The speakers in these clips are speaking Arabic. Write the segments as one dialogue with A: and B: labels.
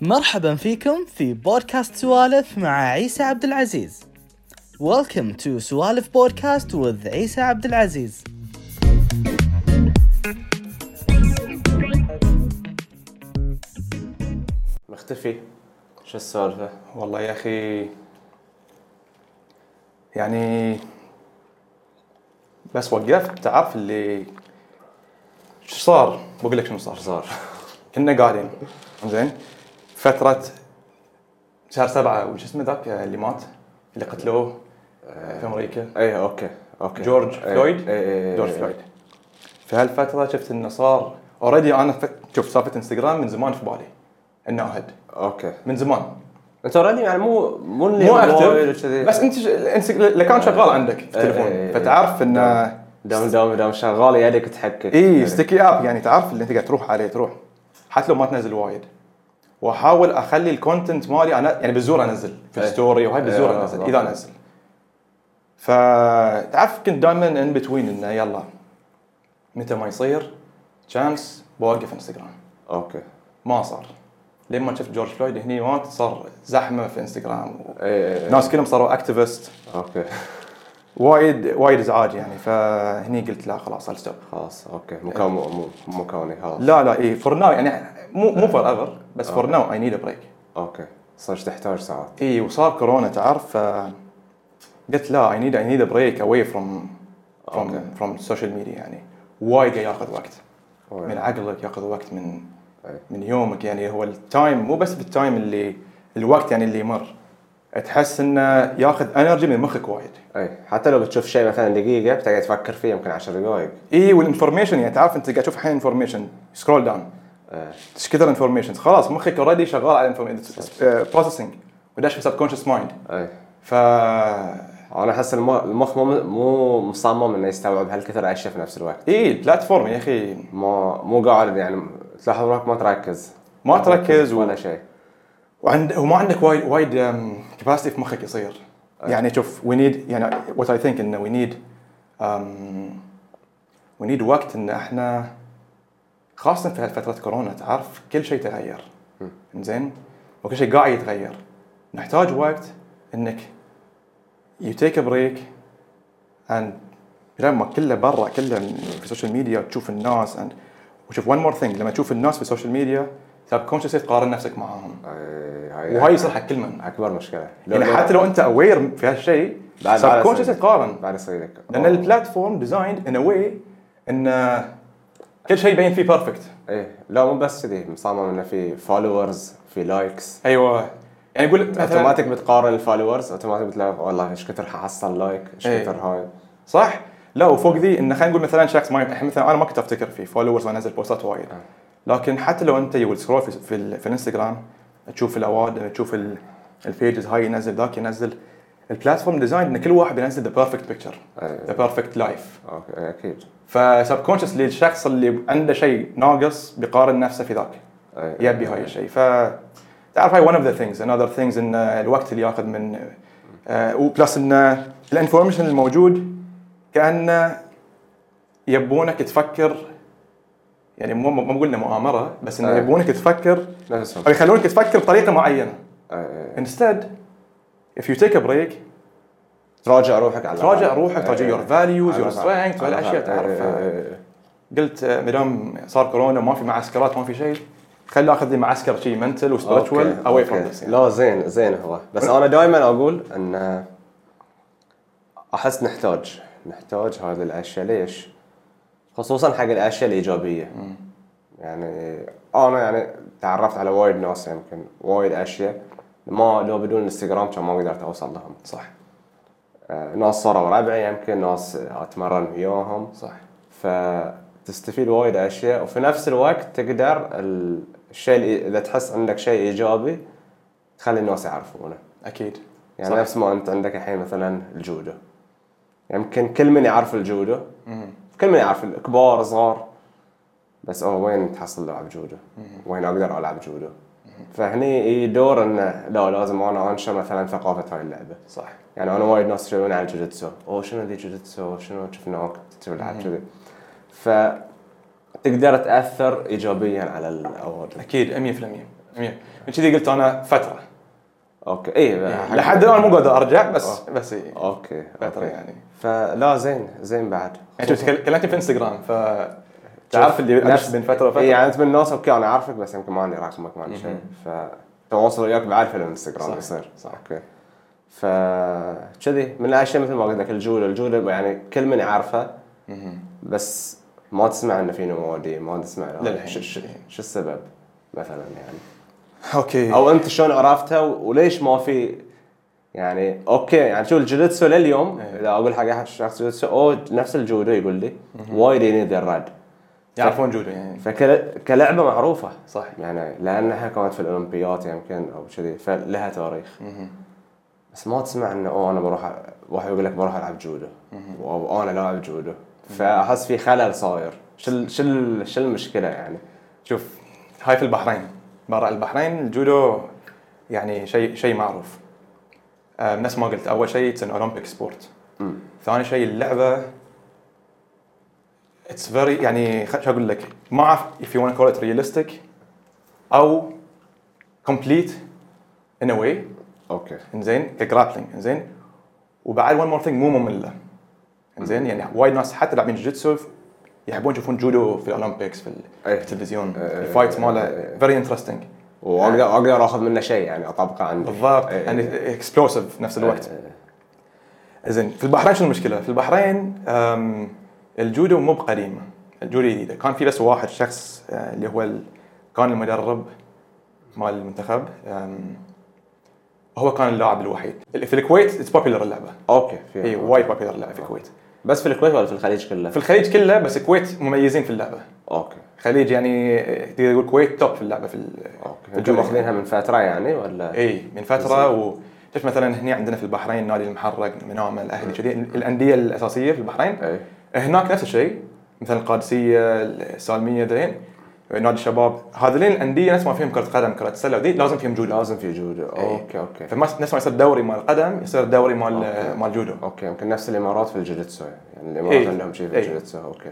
A: مرحبا فيكم في بودكاست سوالف مع عيسى عبد العزيز. Welcome to سوالف بودكاست with عيسى عبد العزيز.
B: مختفي شو السالفة؟
C: والله يا اخي يعني بس وقفت تعرف اللي شو صار بقول لك شنو صار
B: شو صار؟
C: كنا قاعدين زين فترة شهر سبعة وش اسمه ذاك اللي مات اللي قتلوه في امريكا
B: ايه اوكي اوكي
C: جورج
B: إيه،
C: فلويد؟
B: إيه، إيه،
C: جورج
B: إيه.
C: فلويد في هالفترة شفت انه صار اوريدي انا فت... شوف سالفة انستغرام من زمان في بالي انه اهد
B: اوكي
C: من زمان
B: انت اوريدي يعني مو مو آه. اللي
C: مو
B: موبايل
C: اكتف
B: وكذي.
C: بس انت الانس- الاكونت شغال عندك في التليفون
B: إيه.
C: فتعرف انه
B: دام دام دام شغال يدك تحكك
C: اي ستيكي اب يعني تعرف اللي انت قاعد تروح عليه تروح حتى لو ما تنزل وايد واحاول اخلي الكونتنت مالي انا يعني بالزور انزل في
B: إيه.
C: الستوري وهاي
B: إيه،
C: بالزور انزل
B: بالضبط.
C: اذا انزل فتعرف كنت دائما ان بتوين انه يلا متى ما يصير تشانس بوقف انستغرام
B: اوكي
C: ما صار لما شفت جورج فلويد هني مات صار زحمه في انستغرام
B: ايه ايه
C: الناس كلهم صاروا اكتيفست
B: اوكي
C: وايد وايد ازعاج يعني فهني قلت لا خلاص I'll stop
B: خلاص اوكي مكان مو مو مكاني خلاص
C: لا لا اي فور ناو يعني مو مو فور ايفر بس فور ناو اي نيد ا بريك
B: اوكي صرت تحتاج ساعات
C: اي وصار كورونا تعرف ف- قلت لا اي نيد اي نيد ا بريك اواي فروم
B: أوكي.
C: فروم فروم السوشيال ميديا يعني وايد قاعد ياخذ وقت
B: أوكي.
C: من عقلك ياخذ وقت من
B: إيه.
C: من يومك يعني هو التايم مو بس بالتايم اللي الوقت يعني اللي يمر تحس انه ياخذ انرجي من مخك وايد
B: اي حتى لو بتشوف شيء مثلا دقيقه بتقعد تفكر فيه يمكن 10 دقائق
C: اي والانفورميشن يعني تعرف انت قاعد تشوف الحين انفورميشن سكرول داون ايش كثر انفورميشن خلاص مخك اوريدي شغال على بروسيسنج وداش في سب كونشس مايند
B: اي
C: ف
B: انا احس الم- المخ مو مو مصمم انه يستوعب هالكثر اشياء في نفس الوقت
C: اي البلاتفورم يا اخي
B: ما مو قاعد يعني تلاحظ روحك ما تركز
C: ما تركز و-
B: ولا شيء
C: وعند وما عندك وايد وايد كباسيتي في مخك يصير يعني شوف وي نيد يعني وات اي ثينك انه وي نيد وي نيد وقت ان احنا خاصه في هالفتره كورونا تعرف كل شيء تغير زين وكل شيء قاعد يتغير نحتاج وقت انك يو تيك بريك اند لما كله برا كله في السوشيال ميديا تشوف الناس and وشوف ون مور ثينج لما تشوف الناس في السوشيال ميديا سبكونشسلي تقارن نفسك معاهم وهاي
B: وهاي
C: يصير حق كل من
B: اكبر مشكله
C: يعني حتى لو انت اوير في هالشيء
B: بعد- بعد
C: سبكونشس
B: أصير.
C: تقارن
B: بعد يصير لك
C: لان البلاتفورم ديزايند ان واي ان آه، كل شيء يبين فيه بيرفكت
B: ايه لا مو بس كذي مصمم انه في فولورز في لايكس
C: ايوه يعني يقول مثلا
B: اوتوماتيك بتقارن الفولورز اوتوماتيك بتلاقي والله ايش كثر ححصل لايك ايش
C: إيه.
B: كثر هاي
C: صح لا وفوق ذي ان خلينا نقول مثلا شخص ما احنا مثلا انا ما كنت افتكر فيه فولورز وانزل بوستات وايد
B: آه.
C: لكن حتى لو انت يو سكرول في, في, ال- في الانستغرام تشوف الاوادم تشوف ال- البيجز هاي ينزل ذاك ينزل البلاتفورم ديزاين ان كل واحد ينزل ذا بيرفكت بيكتشر
B: إيه.
C: ذا بيرفكت لايف
B: اوكي إيه، اكيد
C: فسبكونشسلي الشخص اللي عنده شيء ناقص بيقارن نفسه في ذاك
B: إيه.
C: يبي هاي الشيء ف تعرف هاي ون اوف ذا ثينجز انذر ثينجز ان الوقت اللي ياخذ من آه، وبلس ان الانفورميشن الموجود كانه يبونك تفكر يعني مو مو بقول انه مؤامره بس انه
B: إيه.
C: يبونك تفكر
B: نفسهم
C: او يخلونك تفكر بطريقه معينه
B: إيه.
C: instead if you take a break
B: تراجع روحك على
C: تراجع
B: الأقل.
C: روحك تراجع
B: إيه.
C: your values
B: على
C: your
B: الأقل.
C: strengths
B: على
C: وهالاشياء
B: الأقل. إيه،
C: تعرف
B: إيه، إيه، إيه.
C: قلت آه، مدام صار كورونا ما في معسكرات ما في شيء خلي اخذ لي معسكر شيء منتل وسبيرتشوال
B: أوكي،
C: اواي فروم
B: أوكي.
C: ذس
B: لا زين زين هو بس انا دائما اقول ان احس نحتاج نحتاج هذه الاشياء ليش؟ خصوصا حق الاشياء الايجابيه يعني انا يعني تعرفت على وايد ناس يمكن وايد اشياء ما لو بدون الانستغرام كان ما قدرت اوصل لهم
C: صح
B: آه، ناس صاروا ربعي يمكن ناس اتمرن وياهم
C: صح
B: فتستفيد وايد اشياء وفي نفس الوقت تقدر ال- الشيء اللي- اذا تحس عندك شيء ايجابي تخلي الناس يعرفونه
C: اكيد
B: يعني
C: صح.
B: صح. نفس ما انت عندك الحين مثلا الجودو يمكن كل من يعرف الجودو كل من يعرف الكبار صغار بس اوه وين تحصل لاعب جودو؟ وين اقدر العب جودو؟ فهني يدور انه لا لازم انا انشر مثلا ثقافه هاي اللعبه
C: صح
B: يعني انا وايد ناس يسالون عن الجوجيتسو اوه شنو ذي جوجيتسو شنو شفناك تلعب كذي ف تقدر تاثر ايجابيا على الاوادم
C: اكيد 100% مية. من كذي قلت انا فتره
B: اوكي اي بقى-
C: لحد الان مو قادر ارجع بس بس إي.
B: اوكي
C: فتره
B: اوكي
C: يعني
B: فلا زين زين بعد
C: يعني شفت كل- كلمتني في انستغرام ف تعرف اللي
B: نفس-
C: أدش بين فتره وفتره
B: اي يعني انت من الناس اوكي انا اعرفك بس يمكن ما عندي رقمك ما عندي شيء فتواصل وياك بعد في الانستغرام
C: صح،
B: يصير
C: صح.
B: اوكي ف كذي من الاشياء مثل ما قلت لك الجوله الجوله يعني كل من يعرفه بس ما تسمع انه في نوادي ما تسمع
C: للحين.
B: شو- شو شو السبب مثلا يعني
C: اوكي
B: او انت شلون عرفتها و- وليش ما في يعني اوكي يعني شو الجوجيتسو لليوم
C: إيه.
B: اذا اقول حق احد شخص جوجيتسو او نفس الجودو يقول لي وايد يني ذا الرد
C: يعرفون جودو يعني
B: فكلعبه معروفه
C: صح
B: يعني لانها كانت في الاولمبيات يمكن او كذي فلها تاريخ بس ما تسمع انه اوه انا بروح أ- واحد يقول لك بروح العب جودو او انا لاعب جودو فاحس في خلل صاير شو ال- شو ال- شو المشكله يعني
C: شوف هاي في البحرين برا البحرين الجودو يعني شيء شيء معروف آه، نفس ما قلت اول شيء اتس ان اولمبيك سبورت ثاني شيء اللعبه اتس فيري يعني خ- شو اقول لك ما اعرف if you want to call it realistic او complete in a way
B: اوكي
C: انزين كجرابلينج انزين وبعد ون مور ثينج مو ممله انزين يعني وايد ناس حتى لاعبين جوجيتسو يحبون يشوفون جودو في الاولمبيكس في ال-
B: إيه.
C: في التلفزيون
B: إيه.
C: الفايت
B: إيه.
C: ماله فيري انترستنج
B: واقدر اقدر اخذ منه شيء يعني اطبقه عندي
C: بالضبط
B: إيه.
C: يعني اكسبلوسيف نفس الوقت
B: إيه.
C: زين في البحرين شنو المشكله؟ في البحرين أم، الجودو مو بقديم الجودو جديده كان في بس واحد شخص آه، اللي هو ال- كان المدرب مال المنتخب أم، هو كان اللاعب الوحيد في الكويت اتس بوبيلر اللعبه
B: اوكي في
C: اي إيه، وايد بوبيلر اللعبه في الكويت
B: بس في الكويت ولا إيه، في الخليج كله؟
C: في الخليج كله بس الكويت مميزين في اللعبه
B: اوكي
C: الخليج يعني آه، تقدر تقول الكويت توب في اللعبه في
B: اوكي انتم ماخذينها من فتره يعني ولا؟
C: اي إيه، من فتره و شوف مثلا هنا عندنا في البحرين نادي المحرق منامه الاهلي كذي الانديه الاساسيه في البحرين
B: اي
C: هناك نفس الشيء مثلا القادسيه السالميه ذين نادي الشباب هذولين الانديه نفس ما فيهم كره قدم كره سله وذي لازم فيهم جودو
B: لازم في جودو
C: إيه.
B: اوكي اوكي
C: فما نفس ما يصير دوري مال قدم يصير دوري مال
B: أوكي.
C: مال جودو
B: اوكي يمكن نفس الامارات في الجوجيتسو يعني الامارات
C: إيه.
B: عندهم شيء في
C: إيه.
B: الجوجيتسو اوكي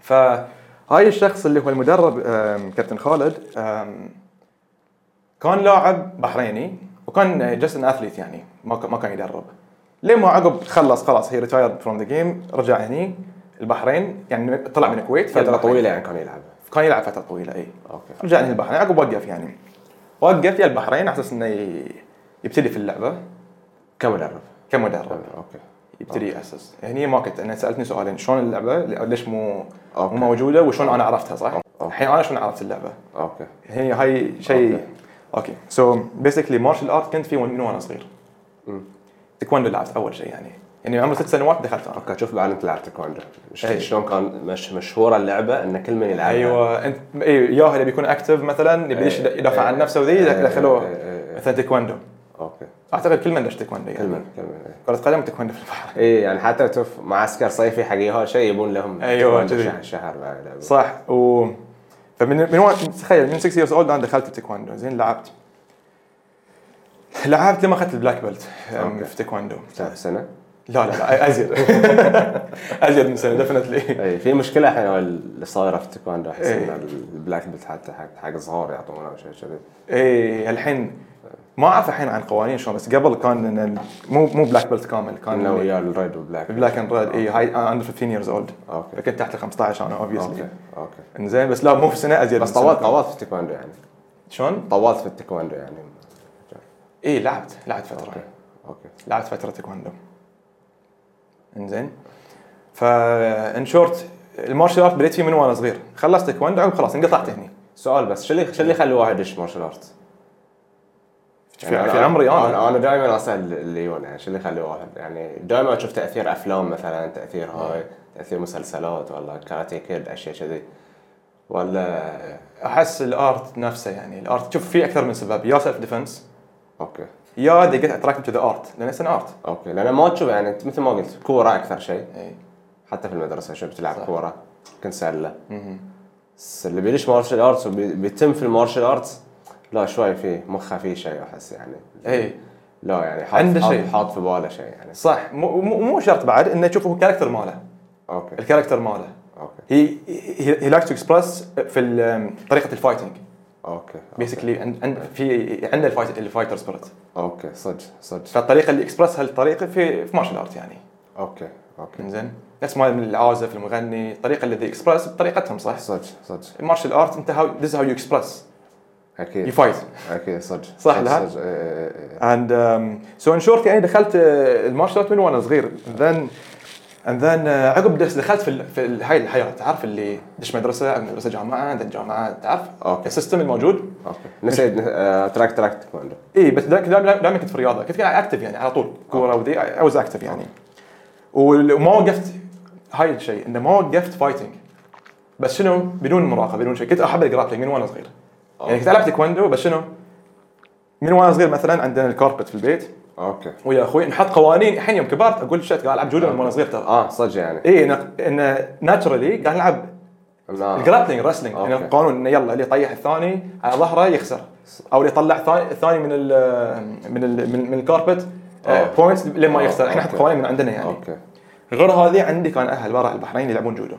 C: فهاي الشخص اللي هو المدرب آم، كابتن خالد آم، كان لاعب بحريني وكان جاست ان اثليت يعني ما ك- ما كان يدرب لين ما عقب خلص خلاص هي ريتايرد فروم ذا جيم رجع هني البحرين يعني طلع من الكويت
B: فتره طويله يعني كان يلعب
C: كان يلعب فتره طويله اي
B: اوكي
C: رجع هني البحرين عقب وقف يعني وقف يا البحرين على اساس انه ي- يبتدي في اللعبه
B: كم مدرب؟
C: كمدرب
B: اوكي
C: يبتدي يعني ياسس هني ما كنت انا سالتني سؤالين شلون اللعبه ليش مو مو
B: أوكي.
C: موجوده وشلون انا عرفتها صح؟
B: أوكي.
C: الحين انا شلون عرفت اللعبه؟
B: اوكي
C: هي هاي شيء
B: أوكي.
C: اوكي سو بيسكلي مارشال ارت كنت فيه من وانا صغير تايكوندو لعبت اول شيء يعني يعني عمري ست سنوات دخلت انا
B: اوكي شوف بعد انت لعبت تايكوندو
C: إيه.
B: شفت شلون كان مش مشهوره اللعبه ان كل من يلعبها
C: ايوه انت اي ياهل اللي بيكون اكتف مثلا يبي يش- يدافع عن نفسه وذي
B: إيه. إيه.
C: دخلوه
B: إيه. إيه.
C: مثلا تايكوندو
B: اوكي
C: اعتقد كل من دش تايكوندو
B: كل
C: يعني
B: من كل من إيه.
C: كره قدم تايكوندو في البحر
B: اي يعني حتى تشوف معسكر صيفي حق يهال شيء يبون لهم
C: أيوة، كذي.
B: تايكوندو شهر- شهر بعد يلعبون.
C: صح و فمن من وقت تخيل من 6 years اولد انا دخلت التايكوندو زين لعبت لعبت لما اخذت البلاك بيلت
B: أوكي.
C: في تايكوندو
B: سنه سنه
C: لا لا لا ازيد ازيد من سنه ديفنتلي
B: اي إيه، في مشكله الحين اللي صايره في التايكوندو احس
C: إيه.
B: ان البلاك بيلت حتى حق حق صغار يعطونه شيء كذي
C: اي إيه، الحين ما اعرف الحين عن قوانين شلون بس قبل كان إن- مو مو بلاك بيلت كامل
B: انه
C: كان
B: ويا الريد والبلاك
C: بلاك اند إيه. ريد إيه. اي هاي اندر 15 years old
B: اوكي
C: فكنت تحت ال 15 انا اوبسلي
B: اوكي اوكي
C: انزين إيه، بس لا مو في سنه ازيد
B: بس
C: من سنة.
B: طولت طولت في التايكوندو يعني
C: شلون؟
B: طولت في التايكوندو يعني
C: اي لعبت لعبت فتره
B: اوكي اوكي
C: لعبت فتره تايكوندو انزين فان شورت المارشال ارت بديت فيه من وانا صغير خلصت تايكوندو عقب خلاص انقطعت هني
B: سؤال بس شو اللي شو اللي يخلي واحد يدش مارشال ارت؟
C: في- في عمري أنا.
B: انا, أنا دائما اسال الليون يعني شو اللي يخلي واحد يعني دائما اشوف تاثير افلام مثلا
C: إيه.
B: تاثير هاي تاثير مسلسلات والله كاراتيه كيد اشياء كذي ولا
C: احس الارت نفسه يعني الارت شوف في اكثر من سبب يا سيلف ديفنس
B: اوكي
C: يا they get attracted to the art لان it's an art
B: اوكي لان ما تشوف يعني انت مثل ما قلت كوره اكثر شيء
C: اي
B: حتى في المدرسه شو بتلعب
C: صح.
B: كوره كنت سله بس اللي بيدش مارشال ارتس وبيتم في المارشال ارتس لا شوي في مخه في شيء احس يعني
C: اي
B: لا يعني حاط
C: عنده
B: حاط-
C: شيء.
B: حاط في باله شيء يعني
C: إيه، صح مو مو مو شرط بعد انه تشوف هو الكاركتر ماله
B: اوكي
C: الكاركتر ماله
B: اوكي
C: هي هي لايك تو اكسبرس في ال- طريقه الفايتنج
B: اوكي أوكي.
C: بيسكلي في عندنا الفايت الفايتر سبيريت
B: اوكي صدق صدق
C: فالطريقه اللي اكسبرس هالطريقه في في مارشال ارت يعني
B: اوكي اوكي
C: زين نفس ما من العازف المغني الطريقه اللي ذي اكسبرس بطريقتهم صح
B: صدق صدق
C: المارشال ارت انت هاو ذيز هاو يو اكسبرس يو
B: اكيد
C: فايت
B: اكيد صدق
C: صح
B: صدق،
C: لها؟
B: صدق. إيه، إيه، إيه، إيه.
C: اند سو ان شورت يعني دخلت آه، المارشال ارت من وانا صغير ذن اند ذن آه، عقب دس دخلت في ال- في ال- هاي الحياه تعرف اللي دش مدرسه مدرسه جامعه ذن جامعه تعرف
B: أوكي.
C: السيستم الموجود
B: اوكي نسيت آه، تراك تراك تايكوندو
C: اي إيه، بس دايما دايما دايما كنت في الرياضه كنت قاعد اكتف يعني على طول كوره وذي اي واز اكتف يعني وال- وما وقفت هاي الشيء انه ما وقفت فايتنج بس شنو بدون مراقبه بدون شيء كنت احب الجرابلينج من وانا صغير يعني كنت العب تايكوندو بس شنو من وانا صغير مثلا عندنا الكاربت في البيت
B: اوكي
C: ويا اخوي نحط قوانين الحين يوم كبرت اقول شت قاعد العب جودو من وانا صغير ترى إيه،
B: اه صدق يعني
C: اي انه ناتشرالي قاعد نلعب
B: لا.
C: الجرابلينج رسلينج
B: آه. أوكي.
C: يعني القانون انه يلا اللي يطيح الثاني على ظهره يخسر او اللي يطلع ثا- الثاني من ال من ال من, من الكاربت آه،
B: أوه.
C: بوينتس لما
B: أوه،
C: يخسر احنا نحط
B: أوكي.
C: قوانين من عندنا يعني
B: اوكي
C: غير هذه عندي كان اهل برا البحرين يلعبون جودو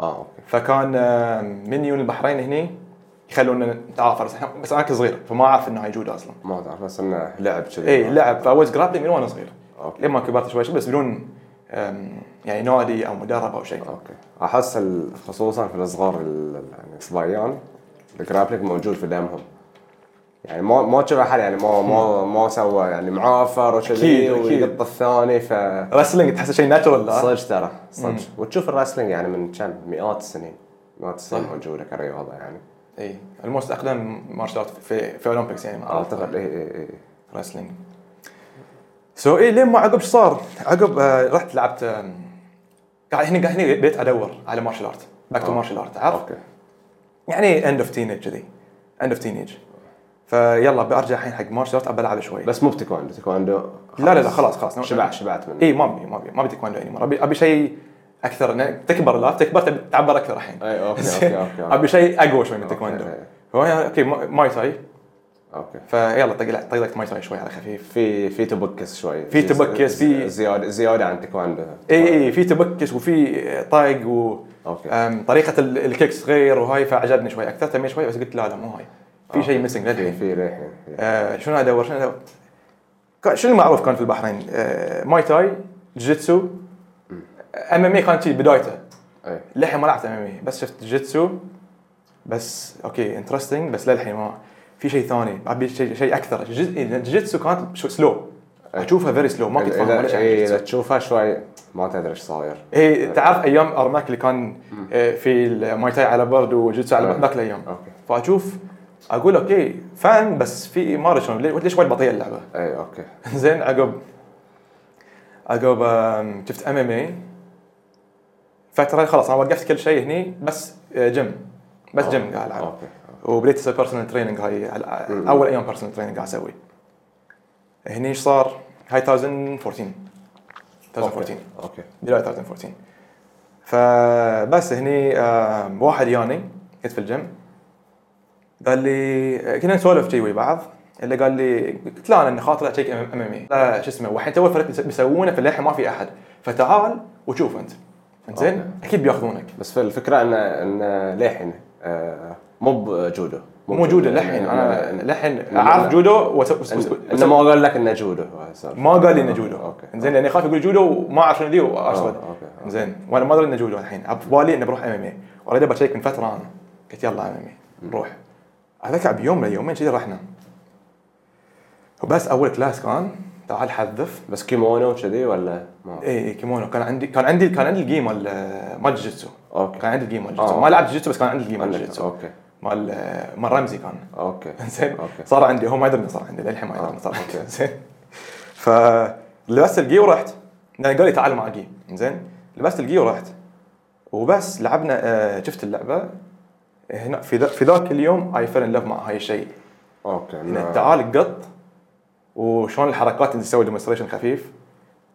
B: اه اوكي
C: فكان آه، من يون البحرين هني يخلونا نتعافر بس إحنا- بس انا كنت صغير فما اعرف انه هاي جودو اصلا
B: ما تعرف بس انه لعب كذي
C: اي لعب فوز جرابلينج من وانا صغير
B: اوكي
C: لما كبرت شوي شوي بس بدون آم، يعني نادي او مدرب او شيء
B: اوكي احس ال- خصوصا في الصغار ال- ال- يعني الصبيان الجرابلينج موجود في دمهم يعني ما ما تشوف احد يعني ما ما ما سوى يعني معافر وكذي
C: أكيد، أكيد.
B: ويقط الثاني ف
C: رسلينج تحسه شيء ناتشرال لا
B: صدق ترى صدق وتشوف الرسلينج يعني من كم مئات السنين مئات السنين موجوده كرياضه يعني
C: اي الموست اقدم مارشال ارت في في اولمبيكس يعني ما
B: اعتقد اي اي اي
C: رسلينج سو اي لين ما عقب ايش صار؟ عقب آه، رحت لعبت آم، قاعد هنا قاعد هنا بيت ادور على مارشال ارت باك تو
B: آه.
C: مارشال ارت عرفت؟
B: اوكي
C: يعني اند اوف تينيج كذي اند اوف تينيج فيلا برجع الحين حق مارشال ارت ابى العب شوي
B: بس مو بتيكواندو تيكواندو
C: لا لا لا خلاص خلاص إيه.
B: شبع شبعت منه
C: اي ما ابي ما ابي ما ابي تايكوندو اني مره ابي ابي شيء اكثر إنه تكبر لا تكبر تبي تعبر اكثر الحين
B: اي اوكي اوكي اوكي إيه، أوكي.
C: ابي شيء اقوى شوي من التايكوندو
B: أوكي.
C: هو يعني اوكي ما- ماي تاي
B: اوكي
C: فيلا طق طق لك ماي تاي شوي على خفيف
B: في في تبكس شوي
C: في تبكس، في-
B: زياده زياده عن تيكواندو
C: اي اي إيه، في تبكش وفي طاق و
B: اوكي
C: أم، طريقه ال- الكيكس غير وهاي فعجبني شوي اكثر تمي شوي بس قلت لا لا مو هاي في شيء ميسنج
B: في
C: للحين
B: في للحين في-
C: آه، شنو ادور شنو ادور كا- شنو المعروف كان في البحرين آه، ماي تاي جيتسو ام ام اي كانت شي بدايته
B: اي
C: للحين ما لعبت ام ام اي بس شفت جيتسو بس اوكي انترستنج بس للحين ما في شيء ثاني ابي شيء شيء اكثر جيتسو كانت سلو اشوفها فيري سلو ما كنت فاهم ولا
B: اذا إي،
C: شيء
B: اذا تشوفها شوي ما تدري ايش صاير
C: اي إيه، تعرف ايام ارماك اللي كان آه، في الماي تاي على برد وجيتسو على
B: آه.
C: برد ذاك الايام
B: اوكي
C: فاشوف اقول اوكي فان بس في ما ادري شلون ليه- ليش وايد بطيئه اللعبه
B: اي اوكي
C: زين عقب عقب آم، شفت ام ام اي فتره خلاص انا وقفت كل شيء هني بس آه، جيم بس جيم قاعد العب
B: اوكي
C: وبديت اسوي بيرسونال تريننج هاي على-
B: مم.
C: اول ايام بيرسونال تريننج قاعد اسوي هني ايش صار؟ هاي 2014 2014
B: اوكي
C: بدايه 2014 فبس هني آم، واحد ياني كنت في الجيم قال لي كنا نسولف شي ويا بعض اللي قال لي قلت له انا إن خاطر اشيك ام ام اي لا شو اسمه والحين تو الفريق بيس- بيسوونه في اللحية ما في احد فتعال وشوف انت
B: أوكي.
C: زين اكيد بياخذونك
B: بس في الفكره ان ان للحين آه، مو بجودو
C: مو موجوده
B: بجودو.
C: للحين
B: إنه-
C: انا للحين
B: إنه-
C: اعرف جودو وس- وس- وس-
B: إنه- انه ما قال لك انه جودو هو صار.
C: ما قال لي انه جودو
B: آه، أوكي.
C: زين لاني خايف يقول جودو وما اعرف شنو ذي وارصد
B: آه، أوكي، أوكي.
C: زين وانا ما ادري انه جودو الحين على بالي اني بروح إيه. ام ام اي اوريدي بشيك من فتره انا قلت يلا ام ام اي نروح اتذكر بيوم من اليومين كذي رحنا وبس اول كلاس كان تعال حذف
B: بس كيمونو كذي ولا ما
C: اي اي كيمونو كان عندي كان عندي كان عندي الجيم مال مال جوجيتسو
B: أوكي.
C: كان عندي الجيم مال جوجيتسو
B: آه.
C: ما لعبت جوجيتسو بس كان عندي الجيم مال
B: عندك.
C: جوجيتسو
B: اوكي
C: مال مال رمزي كان
B: اوكي
C: زين
B: اوكي
C: صار عندي هو ما يدري إنه صار عندي للحين ما يدري إنه صار
B: آه،
C: عندي
B: أوكي.
C: زين فلبست الجي ورحت لأن قال لي تعال مع جي زين لبست الجي ورحت وبس لعبنا آه، شفت اللعبه هنا في ذا في ذاك اليوم اي فيل ان لف مع هاي الشيء
B: اوكي
C: إنه
B: إنه-
C: تعال قط وشلون الحركات اللي تسوي ديمونستريشن خفيف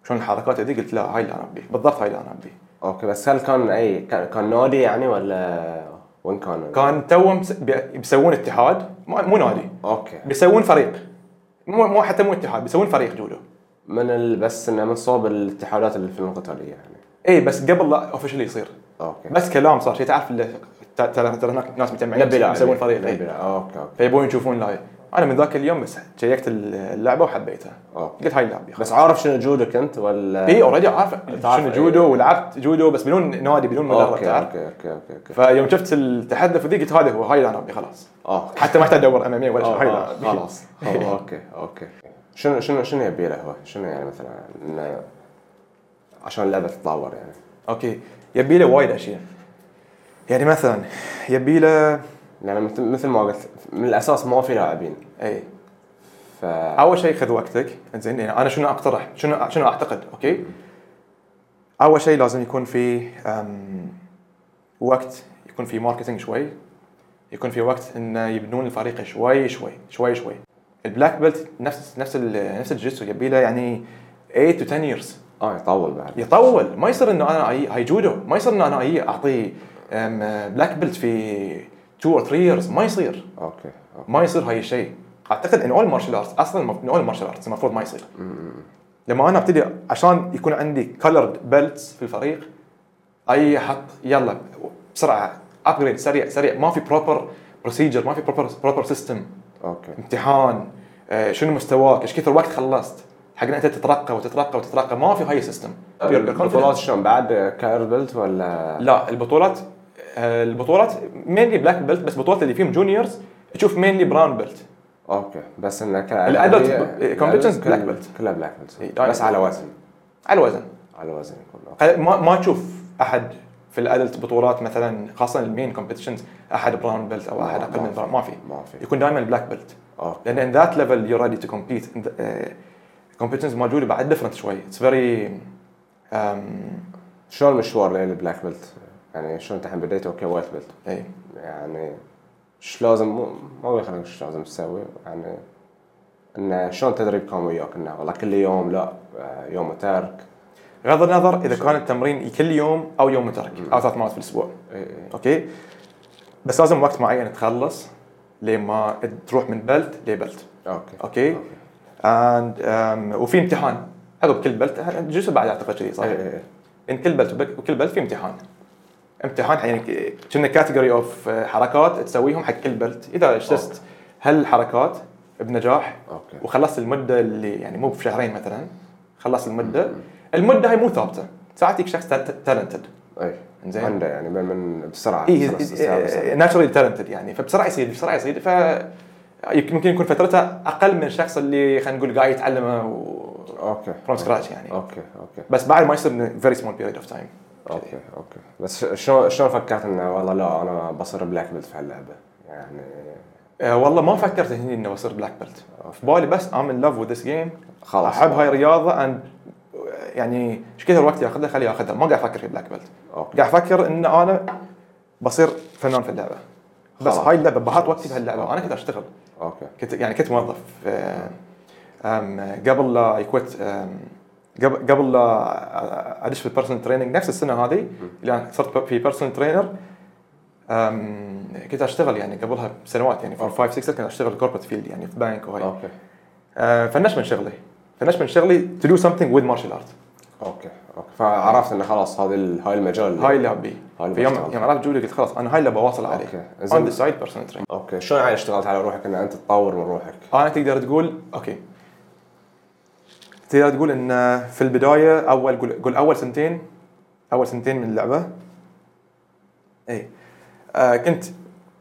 C: شلون الحركات هذي قلت لا هاي اللي انا ابيه بالضبط هاي اللي انا ابيه
B: اوكي بس هل كان اي كان كان نادي يعني ولا وين كان؟
C: كان توهم مس- بي- بيسوون اتحاد ما- مو نادي
B: اوكي
C: بيسوون فريق مو مو حتى مو اتحاد بيسوون فريق جودو
B: من ال... بس انه من صوب الاتحادات اللي في القتاليه يعني
C: اي بس قبل إيه، لا اوفشلي يصير
B: اوكي
C: بس كلام صار شيء تعرف اللي ترى ترى هناك ناس مجمعين
B: نبي لاعب
C: يسوون فريق
B: نبي
C: إيه.
B: لاعب اوكي اوكي
C: فيبون يشوفون لاعب انا من ذاك اليوم بس شيكت اللعبه وحبيتها
B: أوكي.
C: قلت هاي اللعبه
B: بس عارف شنو جودك انت ولا
C: اي اوريدي إيه، عارف
B: تعرف
C: شنو
B: إيه.
C: جودو ولعبت جودو بس بدون نادي بدون مدرب
B: اوكي
C: تعرف
B: اوكي اوكي اوكي اوكي
C: فيوم شفت التحدث ذي قلت هذا هو هاي اللي انا ابي خلاص
B: اه
C: حتى ما احتاج ادور اماميه ولا شيء
B: آه،
C: هاي
B: آه،
C: اللي أبي.
B: خلاص آه، اوكي اوكي شنو شنو شنو يبي له هو؟ شنو يعني مثلا إنه عشان اللعبه تتطور يعني
C: اوكي يبي له وايد اشياء يعني مثلا يبي له
B: لان مثل مثل ما قلت من الاساس ما في لاعبين
C: اي
B: ف
C: اول إيه. شيء خذ وقتك زين يعني انا شنو اقترح شنو شنو اعتقد اوكي اول شيء لازم يكون في أم، وقت يكون في ماركتينج شوي يكون في وقت انه يبنون الفريق شوي شوي شوي شوي البلاك بيلت نفس نفس ال- نفس الجيتسو يبي له يعني 8 تو 10 years
B: اه يطول بعد
C: يطول ما يصير انه انا أي- هاي جودو ما يصير انه انا أي اعطيه بلاك بيلت في 2 اور 3 years ما يصير
B: اوكي اوكي
C: ما يصير هاي الشيء اعتقد ان اول مارشال ارتس اصلا ان اول مارشال ارتس المفروض ما يصير لما انا ابتدي عشان يكون عندي كلرد بيلتس في الفريق اي حط يلا بسرعه ابجريد سريع سريع ما في بروبر بروسيجر ما في بروبر بروبر سيستم
B: اوكي
C: امتحان آه، شنو مستواك ايش كثر وقت خلصت حق إن انت تترقى وتترقى وتترقى ما في هاي سيستم
B: طيب، البطولات شلون بعد كاير بيلت ولا
C: لا البطولات آه، البطولات مينلي بلاك بيلت بس بطولات اللي فيهم جونيورز تشوف مينلي براون بيلت
B: اوكي بس انك
C: الأدلت competitions eh, black belt.
B: كلها بلاك بيلت
C: إيه،
B: بس على وزن
C: على الوزن
B: على وزن يكون أوكي.
C: قل- ما ما تشوف احد في الادلت بطولات مثلا خاصه المين كومبيتيشنز احد براون بيلت او احد اقل من براون ما في
B: ما في
C: يكون دائما بلاك بيلت
B: اوكي
C: لان ان ذات ليفل يو ريدي تو كومبيت الكومبيتيشنز موجوده بعد ديفرنت شوي اتس فيري
B: شلون المشوار للبلاك بيلت يعني شلون انت الحين بديت اوكي وايت بيلت
C: اي
B: يعني ايش لازم مو ما اقول خلينا ايش لازم تسوي يعني انه شلون تدريب كان وياك انه والله كل يوم لا آه، يوم وترك
C: غض النظر اذا كان التمرين كل يوم او يوم وترك او ثلاث مرات في الاسبوع
B: إيه، إيه.
C: اوكي بس لازم وقت معين تخلص لما تروح من بلت لبلت
B: اوكي
C: اوكي and, um, وفي امتحان هذا بكل بلت جزء بعد اعتقد كذي صح؟
B: إيه، إيه، إيه.
C: ان كل بلت وكل بلت في امتحان امتحان يعني كنا كاتيجوري اوف حركات تسويهم حق كل بلت اذا اجتزت هالحركات بنجاح
B: اوكي
C: وخلصت المده اللي يعني مو بشهرين مثلا خلصت المده المده هي مو ثابته ساعات يجيك شخص تالنتد
B: اي
C: زين.
B: زين عنده يعني من- من
C: إيه،
B: بسرعه بسرعة- بسرعة- بسرعة.
C: اي ناتشرالي تالنتد يعني فبسرعه يصير بسرعه يصير ف يمكن يكون فترته اقل من الشخص اللي خلينا نقول قاعد يتعلمه
B: اوكي
C: فروم سكراتش يعني
B: اوكي اوكي
C: بس بعد ما يصير فيري سمول بيريد اوف تايم
B: اوكي اوكي بس ش- شلون شلون فكرت انه والله لا انا بصير بلاك بيلت في هاللعبه يعني
C: آه، والله ما فكرت هني انه بصير بلاك بيلت في بالي بس ام ان لاف وذ ذيس جيم
B: خلاص
C: احب هاي الرياضه اند يعني ايش كثر وقت ياخذها خليه ياخذها ما قاعد افكر في بلاك بيلت
B: اوكي
C: قاعد افكر ان انا بصير فنان في اللعبه بس
B: خلاص.
C: هاي اللعبه بحط وقتي بهاللعبه انا كنت اشتغل
B: اوكي
C: كنت يعني كنت موظف آه، آم، قبل لا يكوت آم، قبل قبل لا ادش في البيرسونال تريننج نفس السنه هذه اللي انا صرت في بيرسونال ترينر كنت اشتغل يعني قبلها بسنوات يعني فور 5 6 كنت اشتغل كوربريت فيلد يعني في بنك وهاي
B: اوكي
C: آه، فنش من شغلي فنش من شغلي تو دو سمثينج وذ مارشال ارت
B: اوكي اوكي فعرفت انه خلاص هذا ال- هاي المجال
C: هاي اللي ابي
B: هاي اللي
C: في يوم
B: بشتغل.
C: يوم عرفت جودي قلت خلاص انا هاي اللي بواصل عليه
B: أوكي.
C: اون
B: زين.
C: ذا سايد بيرسونال تريننج
B: اوكي شلون يعني اشتغلت على روحك ان انت تطور من روحك؟
C: انا آه، تقدر تقول اوكي تقدر تقول ان في البدايه اول قول, قول اول سنتين اول سنتين من اللعبه اي آه كنت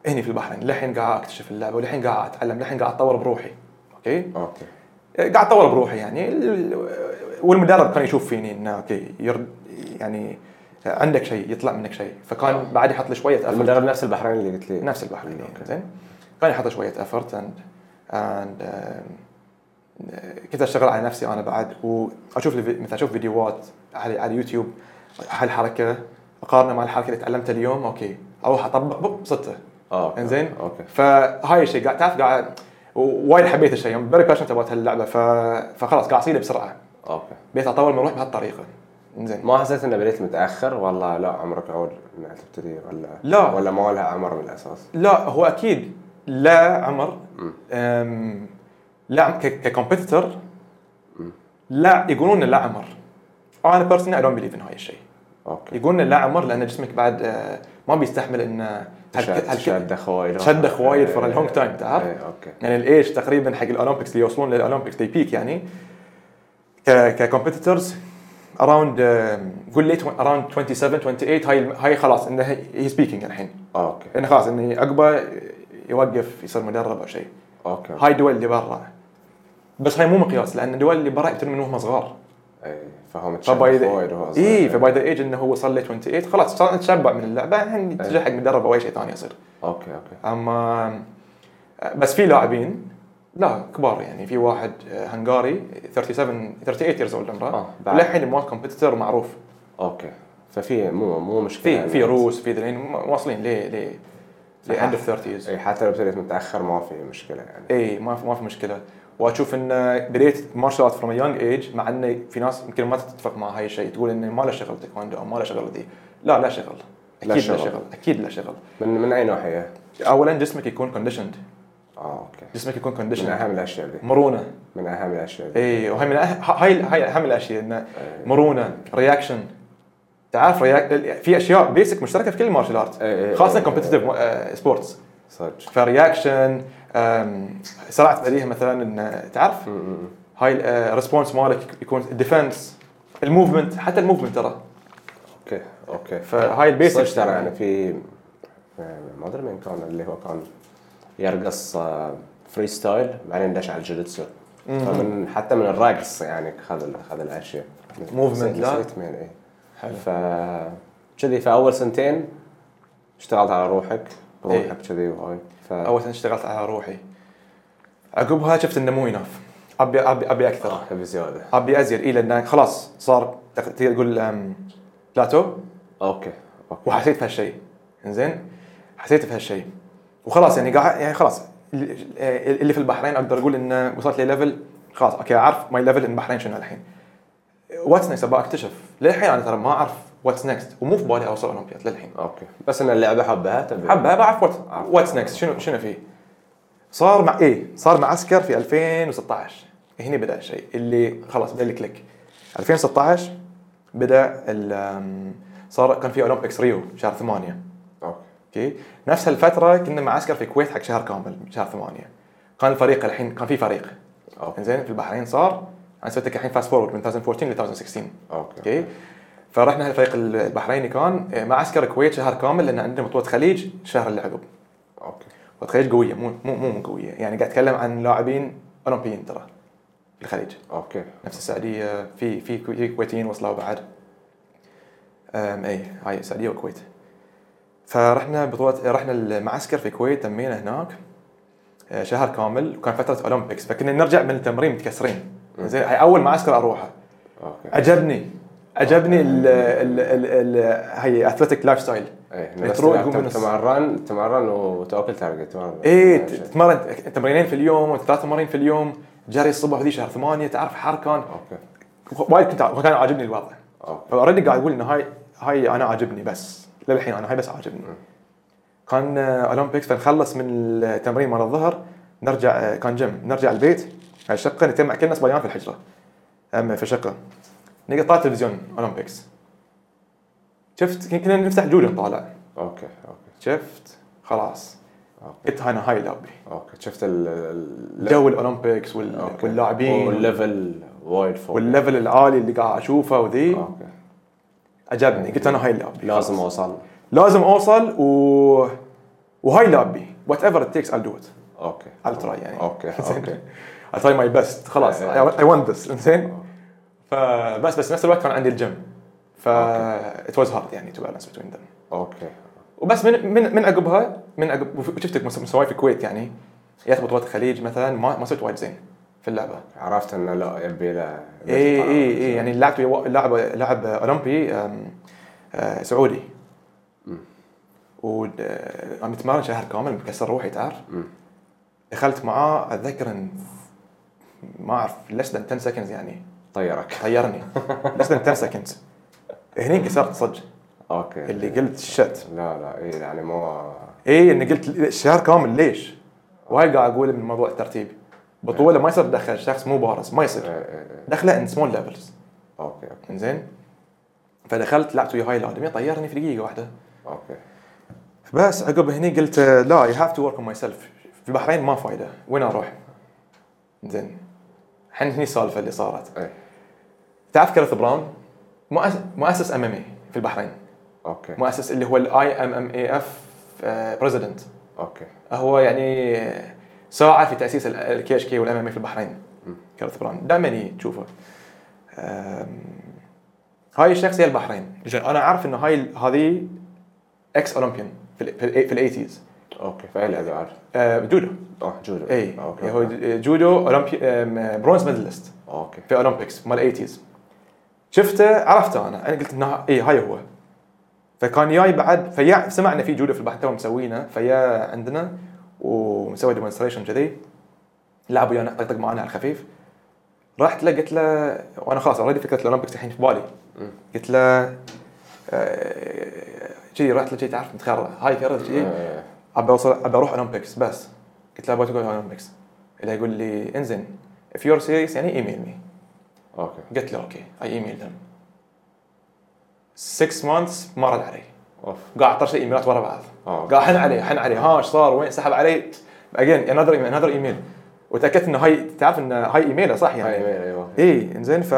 C: هني في البحرين للحين قاعد اكتشف اللعبه وللحين قاعد اتعلم للحين قاعد اتطور بروحي اوكي
B: اوكي
C: آه، قاعد اتطور بروحي يعني ال- والمدرب كان يشوف فيني انه اوكي يرد يعني عندك شيء يطلع منك شيء فكان بعد يحط لي شويه effort.
B: المدرب نفس البحرين اللي قلت لي
C: نفس البحرين
B: أوكي.
C: زين كان يحط شويه افورت اند اند آه، كنت اشتغل على نفسي انا بعد واشوف الفي- مثلا اشوف فيديوهات على على اليوتيوب هالحركه اقارنها مع الحركه اللي تعلمتها اليوم اوكي اروح اطبق بوب صدته
B: اه أوكي.
C: انزين
B: اوكي
C: فهاي الشيء قاعد تعرف قاعد وايد حبيت الشيء فيري باشنت اباوت هاللعبه ف... فخلاص قاعد اصيده بسرعه
B: اوكي
C: بيت اطور من روحي بهالطريقه انزين
B: ما حسيت انه بديت متاخر والله لا عمرك عود انك تبتدي ولا
C: لا.
B: ولا ما لها عمر من الاساس
C: لا هو اكيد لا عمر
B: مم.
C: أم، لا ككومبيتيتور لا يقولون لا عمر انا بيرسونلي اي دونت بليف ان هاي الشيء
B: اوكي
C: يقولنا لا عمر لان جسمك بعد آه، ما بيستحمل انه هالك-
B: شد-
C: هالك-
B: شد خويل
C: شد خوايل for a long time، تعرف؟
B: إيه، اوكي
C: يعني الايج تقريبا حق الاولمبيكس اللي يوصلون للاولمبيكس دي بيك يعني ك ككومبيتيتورز اراوند قول ليت اراوند 27 28 هاي الم- هاي خلاص انه هي سبيكينج الحين
B: اوكي
C: انه خلاص انه عقبه يوقف يصير مدرب او شيء
B: اوكي
C: هاي الدول اللي برا بس هاي مو مقياس لان الدول اللي برا يبتدون من وهم صغار
B: اي فهو متشد
C: فباي ذا
B: خويل وهو صغير.
C: اي فباي ذا ايج انه هو صار له 28 خلاص صار تشبع من اللعبه الحين
B: إيه.
C: يتجه حق مدرب او اي شيء ثاني يصير
B: اوكي اوكي
C: اما بس في لاعبين لا كبار يعني في واحد هنغاري 37 38 يرز اولد
B: آه،
C: عمره
B: بعد.
C: للحين مال كومبيتيتور معروف
B: اوكي ففي مو مو مشكله
C: في
B: يعني.
C: في روس في ذلين واصلين ل ل لاند اوف 30
B: اي إيه، حتى لو ابتديت متاخر ما في مشكله يعني
C: اي إيه، ما في ما في مشكله واشوف ان بديت مارشال ارت فروم يونج ايج مع انه في ناس يمكن ما تتفق مع هاي الشيء تقول انه ما له شغل تايكوندو او ما له شغل ذي لا لا شغل
B: لا
C: اكيد لا
B: شغل.
C: شغل اكيد لا شغل
B: من من اي ناحيه؟
C: اولا جسمك يكون كونديشند
B: اه اوكي
C: جسمك يكون
B: من
C: كونديشند
B: اهم الاشياء دي
C: مرونه
B: من اهم الاشياء دي
C: اي وهي من أه... هاي هاي اهم الاشياء انه
B: إيه.
C: مرونه رياكشن تعرف رياك... في اشياء بيسك مشتركه في كل المارشال ارت
B: إيه، إيه،
C: خاصه
B: إيه.
C: كومبتتف سبورتس
B: صدق
C: فرياكشن أم، سرعه بديهه مثلا إن تعرف هاي الريسبونس مالك يكون الديفنس الموفمنت حتى الموفمنت ترى
B: اوكي اوكي
C: فهاي البيسكس
B: صدق ترى يعني في يعني ما ادري مين كان اللي هو كان يرقص آه، فري ستايل بعدين دش على الجوجيتسو فمن حتى من الرقص يعني خذ ال- خذ الاشياء
C: Movement، لا.
B: نسيت مين اي
C: حلو.
B: ف كذي في اول سنتين اشتغلت على روحك
C: إيه.
B: بروحك كذي وهاي ف
C: اول سنه اشتغلت على روحي عقبها شفت انه مو يناف ابي ابي ابي اكثر
B: تبي زياده
C: ابي ازيد اي لان خلاص صار تق- تقدر تقول أم، بلاتو
B: اوكي اوكي
C: وحسيت بهالشيء انزين حسيت بهالشيء وخلاص يعني قاعد يعني خلاص ال- ال- اللي في البحرين اقدر اقول انه وصلت لي ليفل خلاص اوكي اعرف ماي ليفل البحرين شنو الحين واتس نكست ابغى اكتشف للحين انا ترى ما اعرف واتس نكست ومو في بالي اوصل اولمبياد للحين
B: اوكي بس ان اللعبه حبها تبي
C: حبها بعرف وات واتس نكست شنو شنو فيه صار مع ايه صار مع عسكر في 2016 هنا بدا الشيء اللي خلاص بدا الكليك 2016 بدا ال- أم، صار كان في اولمبيكس ريو شهر 8
B: اوكي
C: اوكي نفس الفتره كنا معسكر في الكويت حق شهر كامل شهر ثمانية كان الفريق الحين كان في فريق
B: اوكي
C: زين في البحرين صار انا سويت لك الحين فاست فورورد من 2014 ل 2016
B: اوكي
C: اوكي فرحنا الفريق البحريني كان آه، معسكر الكويت شهر كامل لان عندنا بطوله خليج الشهر اللي عقب
B: اوكي
C: بطوله خليج قويه مو مو مو مو قويه يعني قاعد اتكلم عن لاعبين اولمبيين ترى في الخليج
B: اوكي
C: نفس السعوديه في في كو- في كويتيين وصلوا بعد أم اي هاي السعوديه والكويت فرحنا بطوله رحنا المعسكر في الكويت تمينا هناك آه، شهر كامل وكان فتره اولمبيكس فكنا نرجع من التمرين متكسرين زين هاي اول معسكر اروحه
B: اوكي
C: عجبني عجبني ال ال ال ال هي اثلتيك لايف ستايل
B: ايه
C: مترو
B: بتروح
C: يقوم من الص-
B: تمرن تمرن وتاكل تارجت يعني تمرن
C: ايه ت- تتمرن تمرينين في اليوم ثلاث تمارين في اليوم جري الصبح ذي شهر ثمانية تعرف حر كان
B: اوكي
C: وايد كنت ع- كان عاجبني الوضع
B: اوكي
C: اوريدي قاعد اقول ان هاي هاي انا عاجبني بس للحين انا هاي بس عاجبني كان آه، اولمبيكس فنخلص من التمرين مال الظهر نرجع آه، كان جيم نرجع البيت على الشقه نتجمع كل الناس بيان في الحجره اما في الشقه نقطع تلفزيون اولمبيكس شفت كنا نفتح جوجل نطالع
B: اوكي اوكي
C: شفت خلاص
B: اوكي
C: قلت انا هاي لعبي
B: اوكي شفت ال ال-
C: جو الاولمبيكس وال-
B: أوكي.
C: واللاعبين
B: والليفل وايد فوق
C: والليفل العالي اللي قاعد اشوفه وذي
B: اوكي
C: عجبني قلت انا هاي لعبي
B: آه. لازم اوصل
C: لازم اوصل و وهاي لابي وات ايفر ات تيكس I'll do it
B: اوكي
C: I'll try يعني
B: اوكي اوكي
C: I'll try my best خلاص I want this انزين فبس بس نفس الوقت كان عندي الجيم ف it was hard يعني to balance between them
B: اوكي
C: وبس من من من عقبها من عقب شفتك مستواي في الكويت يعني جات بطولات الخليج مثلا ما ما صرت وايد زين في اللعبه
B: عرفت انه لا يبي له
C: اي اي اي يعني لعبت ويا وا- لاعب لاعب اولمبي أم، آه، سعودي و آه، عم يتمرن شهر كامل مكسر روحي تعرف دخلت معاه اتذكر ان ما اعرف less than 10 seconds يعني
B: طيرك
C: طيرني less than 10 seconds هني انكسرت صدق
B: اوكي
C: اللي قلت شت
B: لا لا اي يعني مو
C: اي اني قلت شهر كامل ليش؟ وايد قاعد اقول من موضوع الترتيب بطوله ما يصير تدخل شخص مو بارز ما يصير
B: إيه، إيه، إيه.
C: دخله ان سمول ليفلز
B: اوكي اوكي
C: انزين فدخلت لعبت ويا هاي الادمي طيرني في دقيقه واحده
B: اوكي
C: بس عقب هني قلت آه، لا اي هاف تو ورك اون ماي سيلف في البحرين ما فايده وين اروح؟ زين الحين هني السالفه اللي صارت
B: اي
C: تعرف كارث براون مؤس- مؤسس ام ام اي في البحرين
B: اوكي
C: مؤسس اللي هو الاي ام ام اي اف بريزيدنت
B: اوكي
C: هو يعني ساعة في تأسيس الكي اتش كي والام ام في البحرين كارث براون دائما هي تشوفه أم، هاي الشخصية البحرين زين انا اعرف انه هاي هذه اكس اولمبيان في ال- في الايتيز
B: اوكي فاي لعبه عارف
C: جودو
B: اه جودو
C: اي
B: اوكي
C: هو جودو اولمبي أم، برونز ميدالست
B: اوكي
C: في اولمبيكس مال 80 شفته عرفته انا انا قلت انه اي هاي هو فكان جاي بعد فيا سمع انه في جوده في البحر تو مسوينه فيا عندنا ومسوي ديمونستريشن كذي لعب ويانا طقطق معانا على الخفيف رحت له قلت له وانا خلاص اوريدي فكره الاولمبيكس الحين في بالي قلت له آه، كذي رحت له كذي تعرف متخرع هاي كرت كذي
B: آه،
C: ابى اوصل ابى اروح اولمبيكس بس قلت له ابغى تقول اولمبيكس اللي يقول لي انزين if you're serious يعني ايميل مي
B: اوكي
C: قلت له اوكي اي ايميل ذم 6 مانثس ما رد علي
B: اوف
C: قاعد اطرش لي ايميلات ورا بعض
B: اه
C: قاعد حن عليه حن عليه ها ايش صار وين سحب علي اجين انذر ايميل انذر ايميل وتاكدت انه هاي تعرف انه هاي ايميله صح
B: هاي
C: يعني
B: يمين ايوه
C: اي انزين ف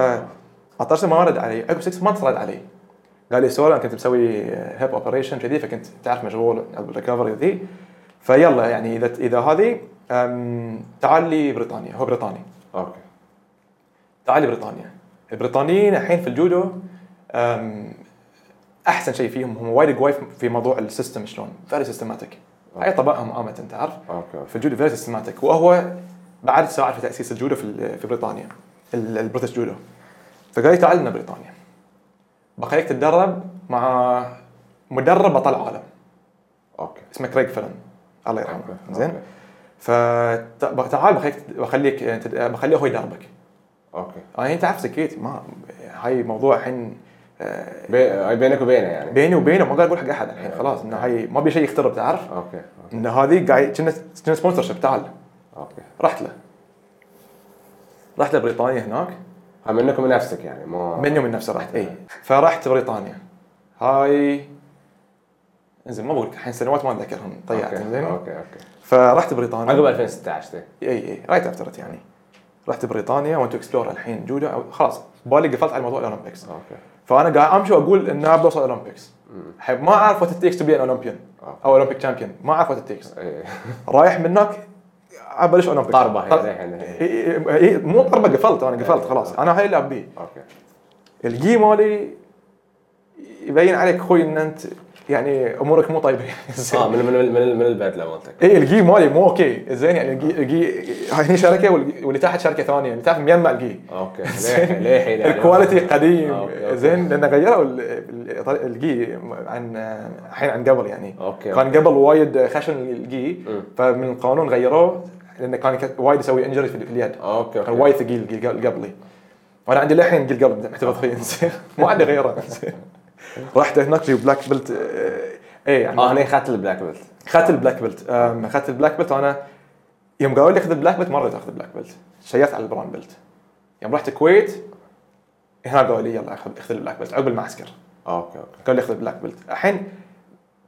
C: اطرش ما رد علي عقب 6 مانثس رد علي قال لي سوري انا كنت مسوي هيب اوبريشن كذي فكنت تعرف مشغول بالريكفري ذي فيلا يعني اذا اذا هذه أم، تعال لي بريطانيا هو بريطاني
B: اوكي
C: تعال بريطانيا البريطانيين الحين في الجودو أم، احسن شيء فيهم هم وايد قوي في موضوع السيستم شلون فيري سيستماتيك
B: آه.
C: هاي طبعهم عامه تعرف
B: اوكي
C: في الجودو فيري سيستماتيك وهو بعد ساعد في تاسيس الجودو في ال- في بريطانيا ال- البريتش جودو فقال لي تعال لنا بريطانيا بخليك تتدرب مع مدرب بطل عالم
B: اوكي
C: اسمه كريغ فلن الله يرحمه
B: أوكي.
C: زين فتعال بخليك بخليك بخليه هو يدربك
B: اوكي
C: انا آه، يعني انت عارف سكيتي ما هاي موضوع الحين آه،
B: بي- هاي بينك وبينه يعني
C: بيني وبينه ما قاعد اقول حق احد
B: أيوة.
C: الحين خلاص انه هاي ما بي شيء يخترب تعرف
B: اوكي أوكي.
C: ان هذه قاعد كنا كنا سبونسر شيب تعال
B: اوكي
C: رحت له رحت لبريطانيا هناك
B: هاي منك ومن نفسك يعني ما
C: من يوم من نفسه رحت اي فرحت بريطانيا هاي زين ما بقول لك الحين سنوات ما اتذكرهم طيعت
B: أوكي.
C: زين
B: اوكي اوكي
C: فرحت بريطانيا إيه،
B: عقب 2016 تي.
C: اي اي رايت افترت يعني رحت بريطانيا وانت اكسبلور الحين جوده أو- خلاص بالي قفلت على موضوع الاولمبيكس
B: اوكي
C: فانا قاعد امشي واقول ان انا بوصل اولمبيكس حب ما اعرف وات تيكس تو بي ان اولمبيان
B: أوكي.
C: او اولمبيك تشامبيون ما اعرف وات تيكس
B: إيه.
C: رايح من هناك ابلش اولمبيك
B: طربة هي يعني.
C: طر-
B: إيه، زين، هي.
C: إي- إي- إي- مو طربه قفلت انا قفلت خلاص
B: آه.
C: انا هاي اللي ابيه
B: اوكي
C: الجي مالي يبين عليك اخوي ان انت يعني امورك مو طيبه
B: اه من من من, من البدله مالتك
C: اي الجي مالي مو اوكي زين يعني الجي الجي هاي هني شركه والجي- واللي تحت شركه ثانيه اللي تحت مجمع الجي
B: اوكي للحين للحين يعني.
C: الكواليتي قديم
B: أوكي، أوكي.
C: زين لان غيروا ال- ال- طريق الجي عن الحين عن قبل يعني
B: أوكي،
C: كان
B: أوكي.
C: قبل وايد خشن الجي
B: أمم.
C: فمن القانون غيروه لانه كان كت- وايد يسوي انجري في اليد
B: اوكي
C: كان
B: اوكي
C: وايد ثقيل الجي قبل- قبلي وانا عندي للحين جيل قلب
B: آه.
C: محتفظ فيه زين ما عندي غيره زين رحت هناك في بلاك بيلت اي يعني
B: اه هني اخذت البلاك بيلت
C: اخذت البلاك بيلت أم، اخذت البلاك بيلت وانا يوم قالوا لي اخذ البلاك بيلت ما رضيت اخذ البلاك بيلت شيت على البراون بيلت يوم رحت الكويت هنا قالوا لي يلا اخذ اخذ البلاك بيلت عقب المعسكر
B: اوكي اوكي
C: قالوا لي اخذ البلاك بيلت الحين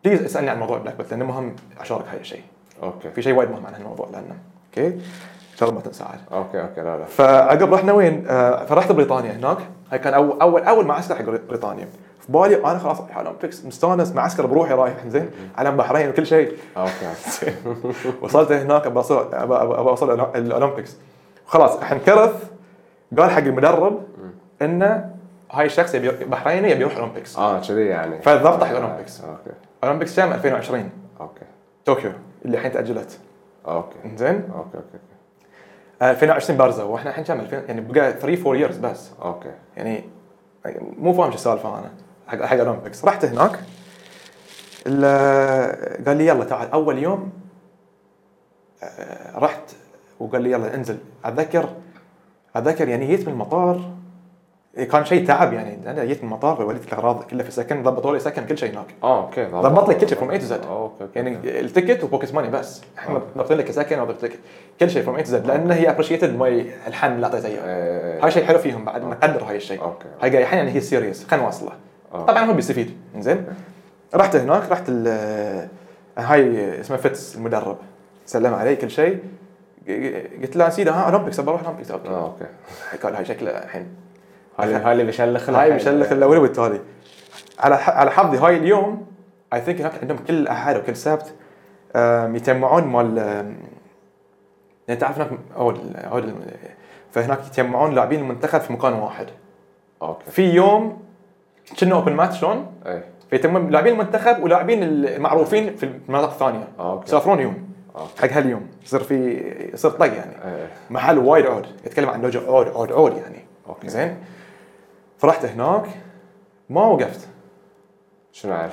C: بليز اسالني عن موضوع البلاك بيلت لانه مهم اشارك هاي الشيء
B: اوكي
C: في شيء وايد مهم عن هالموضوع لانه اوكي ان شاء الله ما تنسى عاد
B: اوكي اوكي لا لا
C: فعقب رحنا وين؟ آه، فرحت بريطانيا هناك هاي كان اول اول اول معسكر حق بريطانيا في بالي انا خلاص رايح اولمبيكس مستانس معسكر بروحي رايح زين علم بحرين وكل شيء
B: اوكي
C: وصلت هناك ابى اوصل أبى- أبى- أبى اوصل الأولم- الاولمبيكس خلاص الحين كرث قال حق المدرب انه هاي الشخص يبي بحريني يبي يروح اولمبيكس
B: اه كذي يعني
C: فالضبط حق اولمبيكس
B: اوكي
C: اولمبيكس كام 2020
B: اوكي
C: طوكيو اللي الحين تاجلت
B: اوكي
C: زين
B: اوكي اوكي اوكي
C: 2020 بارزه واحنا الحين كام 2000 يعني بقى 3 4 ييرز بس
B: اوكي
C: يعني مو فاهم شو السالفه انا حق حق الاولمبيكس رحت هناك ال- قال لي يلا تعال اول يوم آه، رحت وقال لي يلا انزل اتذكر اتذكر يعني جيت من المطار كان شيء تعب يعني انا جيت من المطار وليت الاغراض كلها في سكن ضبطوا لي سكن كل شيء هناك
B: اه اوكي اه،
C: ضبط لك كل شيء from A to Z.
B: اوكي اوكي
C: يعني
B: اوكي
C: التيكت وبوكيت ماني بس احنا ضبطين لك سكن وضبط لك كل شيء فروم اي زد لان هي ابريشيتد ماي الحن اللي اعطيته اياه
B: إيه، إيه، إيه.
C: هاي شيء حلو فيهم بعد نقدر هاي الشيء
B: أوكي.
C: هاي قاعد الحين يعني هي سيريس خلينا نواصله
B: آه.
C: طبعا هو بيستفيد زين رحت هناك رحت ال- آه، هاي اسمه فتس المدرب سلم علي كل شيء قلت له سيدي آه، ها اولمبيكس ابى اروح اولمبيكس أوكي.
B: اه اوكي
C: قال هاي شكله الحين
B: هاي اللي- هاي اللي بشلخ
C: هاي مشلخ الاولي والتالي على ح- على حظي هاي اليوم اي ثينك هناك عندهم كل احد وكل سبت آم، يتجمعون مال آم، يعني تعرف هناك عود عود الم- فهناك يتجمعون لاعبين المنتخب في مكان واحد
B: اوكي ايه،
C: في يوم كنا اوبن ماتش شلون
B: اي
C: فيتم لاعبين المنتخب ولاعبين المعروفين في المناطق الثانيه
B: اوكي
C: يسافرون يوم
B: أوكي.
C: حق هاليوم يصير في يصير طق يعني
B: إي، إي.
C: محل وايد عود يتكلم عن لوجو عود عود عود يعني
B: أوكي.
C: زين فرحت هناك ما وقفت
B: شنو عاد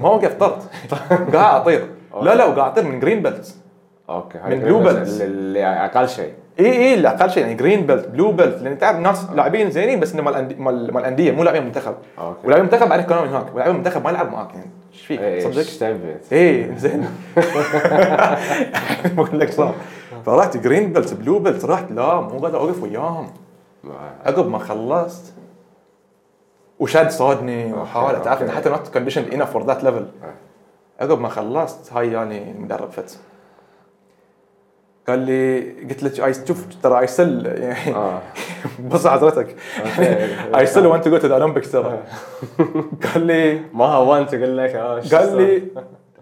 C: ما وقفت طرت قاعد اطير لا لا وقاعد اطير من جرين بيلت
B: اوكي
C: من بلو
B: بس
C: بيلز.
B: اللي اقل شيء
C: اي اي لا اقل شيء يعني جرين بيلت بلو بيلت لان تعرف ناس لاعبين زينين بس انه مال أندي- مال مال انديه مو لاعبين منتخب
B: اوكي
C: ولاعبين منتخب بعدين كانوا هناك ولاعبين منتخب ما يلعب معاك يعني ايش
B: إي،
C: فيك
B: إي،
C: صدق
B: ايش تبي؟
C: ايه زين ما اقول لك صح فرحت جرين بيلت بلو بيلت رحت لا مو قادر اوقف وياهم
B: ما-
C: عقب ما خلصت وشاد صادني وحاول
B: أوكي،
C: تعرف إن
B: أوكي.
C: حتى نوت كونديشن انف فور ذات ليفل
B: أي.
C: عقب ما خلصت هاي يعني المدرب فت قال لي قلت له اي شوف ترى اي سل يعني
B: اه
C: بص حضرتك
B: أوكي.
C: اي سل وانت تو جو تو ذا اولمبيكس ترى قال لي
B: ما هونت اقول لك اه شو
C: قال
B: صار؟
C: لي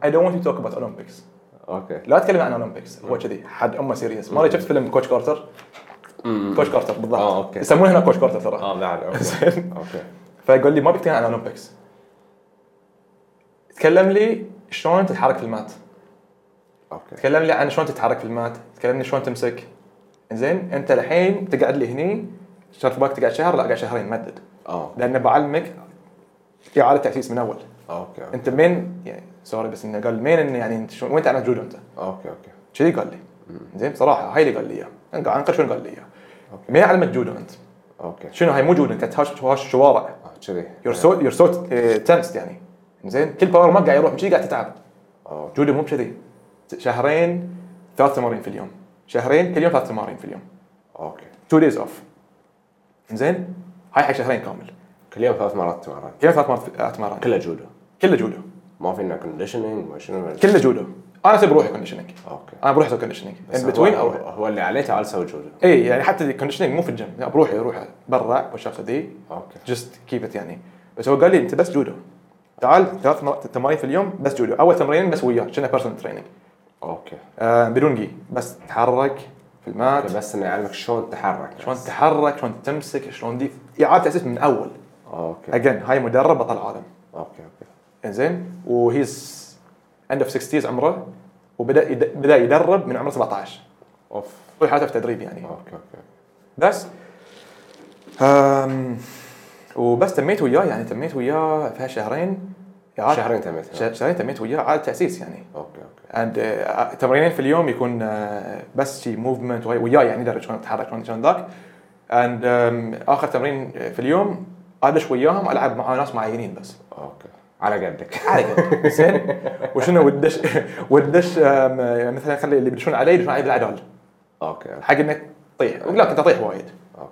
C: اي دونت ونت تو توك اباوت اولمبيكس
B: اوكي
C: لا اتكلم عن اولمبيكس هو كذي حد امه سيريس مره شفت فيلم كوتش كارتر كوتش كارتر بالضبط
B: آه، أوكي.
C: يسمونه هنا كوتش كارتر ترى
B: اه بعد اوكي
C: زين
B: اوكي
C: فقال لي ما بتكلم عن اولمبيكس تكلم لي شلون تتحرك في المات
B: اوكي
C: تكلم لي عن شلون تتحرك في المات تكلمني شلون تمسك زين انت الحين تقعد لي هني صار في بالك تقعد شهر لا قاعد شهرين مدد
B: اه
C: لان بعلمك اعاده تاسيس من اول
B: اوكي اوكي
C: انت مين يعني سوري بس انه قال مين انه يعني انت شلون- وين تعرف جودو انت؟
B: اوكي اوكي
C: كذي قال لي زين بصراحه هاي اللي قال لي اياه انا قاعد انقل شنو قال لي اياه ما علمت جودو انت
B: اوكي
C: شنو هاي مو جودو انت تهاش هاش شوارع
B: آه، كذي
C: يور سو يور سو تنست يعني زين كل باور ما قاعد يروح من كذي قاعد تتعب
B: آه،
C: جودو مو بكذي شهرين ثلاث تمارين في اليوم شهرين كل يوم ثلاث تمارين في اليوم
B: اوكي
C: تو دايز اوف زين هاي حق شهرين كامل
B: كل يوم ثلاث مرات تمرن
C: كل يوم ثلاث مرات آه، تمارين
B: كلها جودو
C: كله جودو
B: ما فينا كونديشننج ما شنو
C: كله جودو انا اسوي بروحي كونديشننج
B: اوكي
C: انا بروحي اسوي كونديشننج
B: بس
C: ان
B: هو-
C: بتوين
B: هو-
C: اروح
B: هو اللي عليه تعال سوي جودو
C: اي يعني حتى الكونديشننج مو في الجيم لا بروحي اروح برا والشخص ذي
B: اوكي
C: جست كيب ات يعني بس هو قال لي انت بس جودو تعال ثلاث مرات تمارين في اليوم بس جودو اول تمرين بس وياه كنا بيرسونال تريننج
B: اوكي
C: آه بدون جي بس تحرك في المات
B: بس انه يعلمك شلون تتحرك
C: شلون تحرك شلون تمسك شلون دي اعاده تاسيس من اول
B: اوكي
C: اجين هاي مدرب بطل عالم
B: اوكي اوكي
C: انزين وهيز اند اوف 60 عمره وبدا يد- بدا يدرب من عمره 17
B: اوف
C: طول حياته في تدريب يعني
B: اوكي اوكي
C: بس أم وبس تميت وياه يعني تميت وياه فيها شهرين إعادة-
B: شهرين تميت.
C: شه- شهرين تميت وياه اعاده تاسيس يعني
B: اوكي اوكي
C: and, uh, تمرينين في اليوم يكون uh, بس شي موفمنت وياه يعني يدري شلون اتحرك شلون شلون ذاك and um, اخر تمرين في اليوم ادش وياهم العب مع ناس معينين بس
B: اوكي على قدك
C: على كده زين وشنو والدش والدش um, مثلا خلي اللي يدشون علي يدشون علي بالعدال
B: اوكي اوكي
C: حق انك تطيح لا كنت اطيح وايد
B: اوكي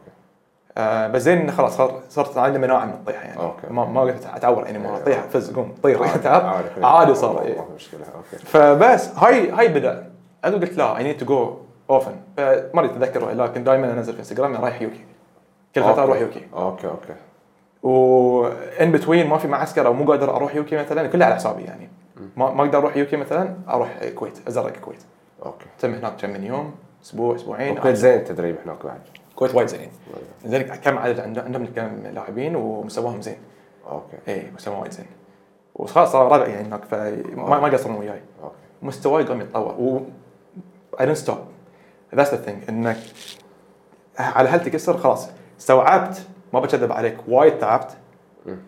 C: آه بس زين إنه خلاص صار صرت عندي مناعه من الطيحه يعني
B: أوكي.
C: ما ما قلت اتعور يعني ما
B: أيوة.
C: اطيح فز قوم طير
B: عادي،
C: تعرف عادي صار
B: ما-
C: إيه.
B: ما في مشكله اوكي
C: فبس هاي هاي بدا انا قلت لا اي نيد تو جو اوفن فما ادري اتذكر لكن دائما انزل في انستغرام أنا رايح يوكي كل فتره
B: أوكي.
C: اروح يوكي
B: اوكي اوكي
C: وان بتوين ما في معسكر او مو قادر اروح يوكي مثلا كله على حسابي يعني ما ما اقدر اروح يوكي مثلا اروح الكويت ازرق الكويت
B: اوكي
C: تم هناك كم من يوم اسبوع اسبوعين
B: وكويت زين التدريب هناك بعد
C: الكويت وايد زين لذلك كم عدد عندهم عندهم كم لاعبين ومستواهم زين
B: اوكي
C: اي مستوى إيه، وايد زين وخلاص صار ربع يعني هناك فما ما قصروا وياي
B: اوكي
C: مستواي قام يتطور و اي دونت ستوب ذاتس ذا ثينج انك على هل تكسر خلاص استوعبت ما بكذب عليك وايد تعبت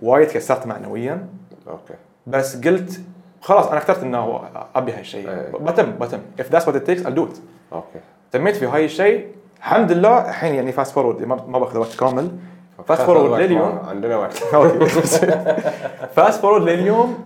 C: وايد كسرت معنويا
B: اوكي
C: بس قلت خلاص انا اخترت انه ابي هالشيء
B: إيه.
C: بتم بتم اف ذاتس وات تيكس ال دو ات
B: اوكي
C: تميت في هاي الشيء الحمد لله الحين يعني فاست فورورد ما ما باخذ وقت كامل فاست فورورد لليوم
B: عندنا وقت
C: اوكي فاست فورورد لليوم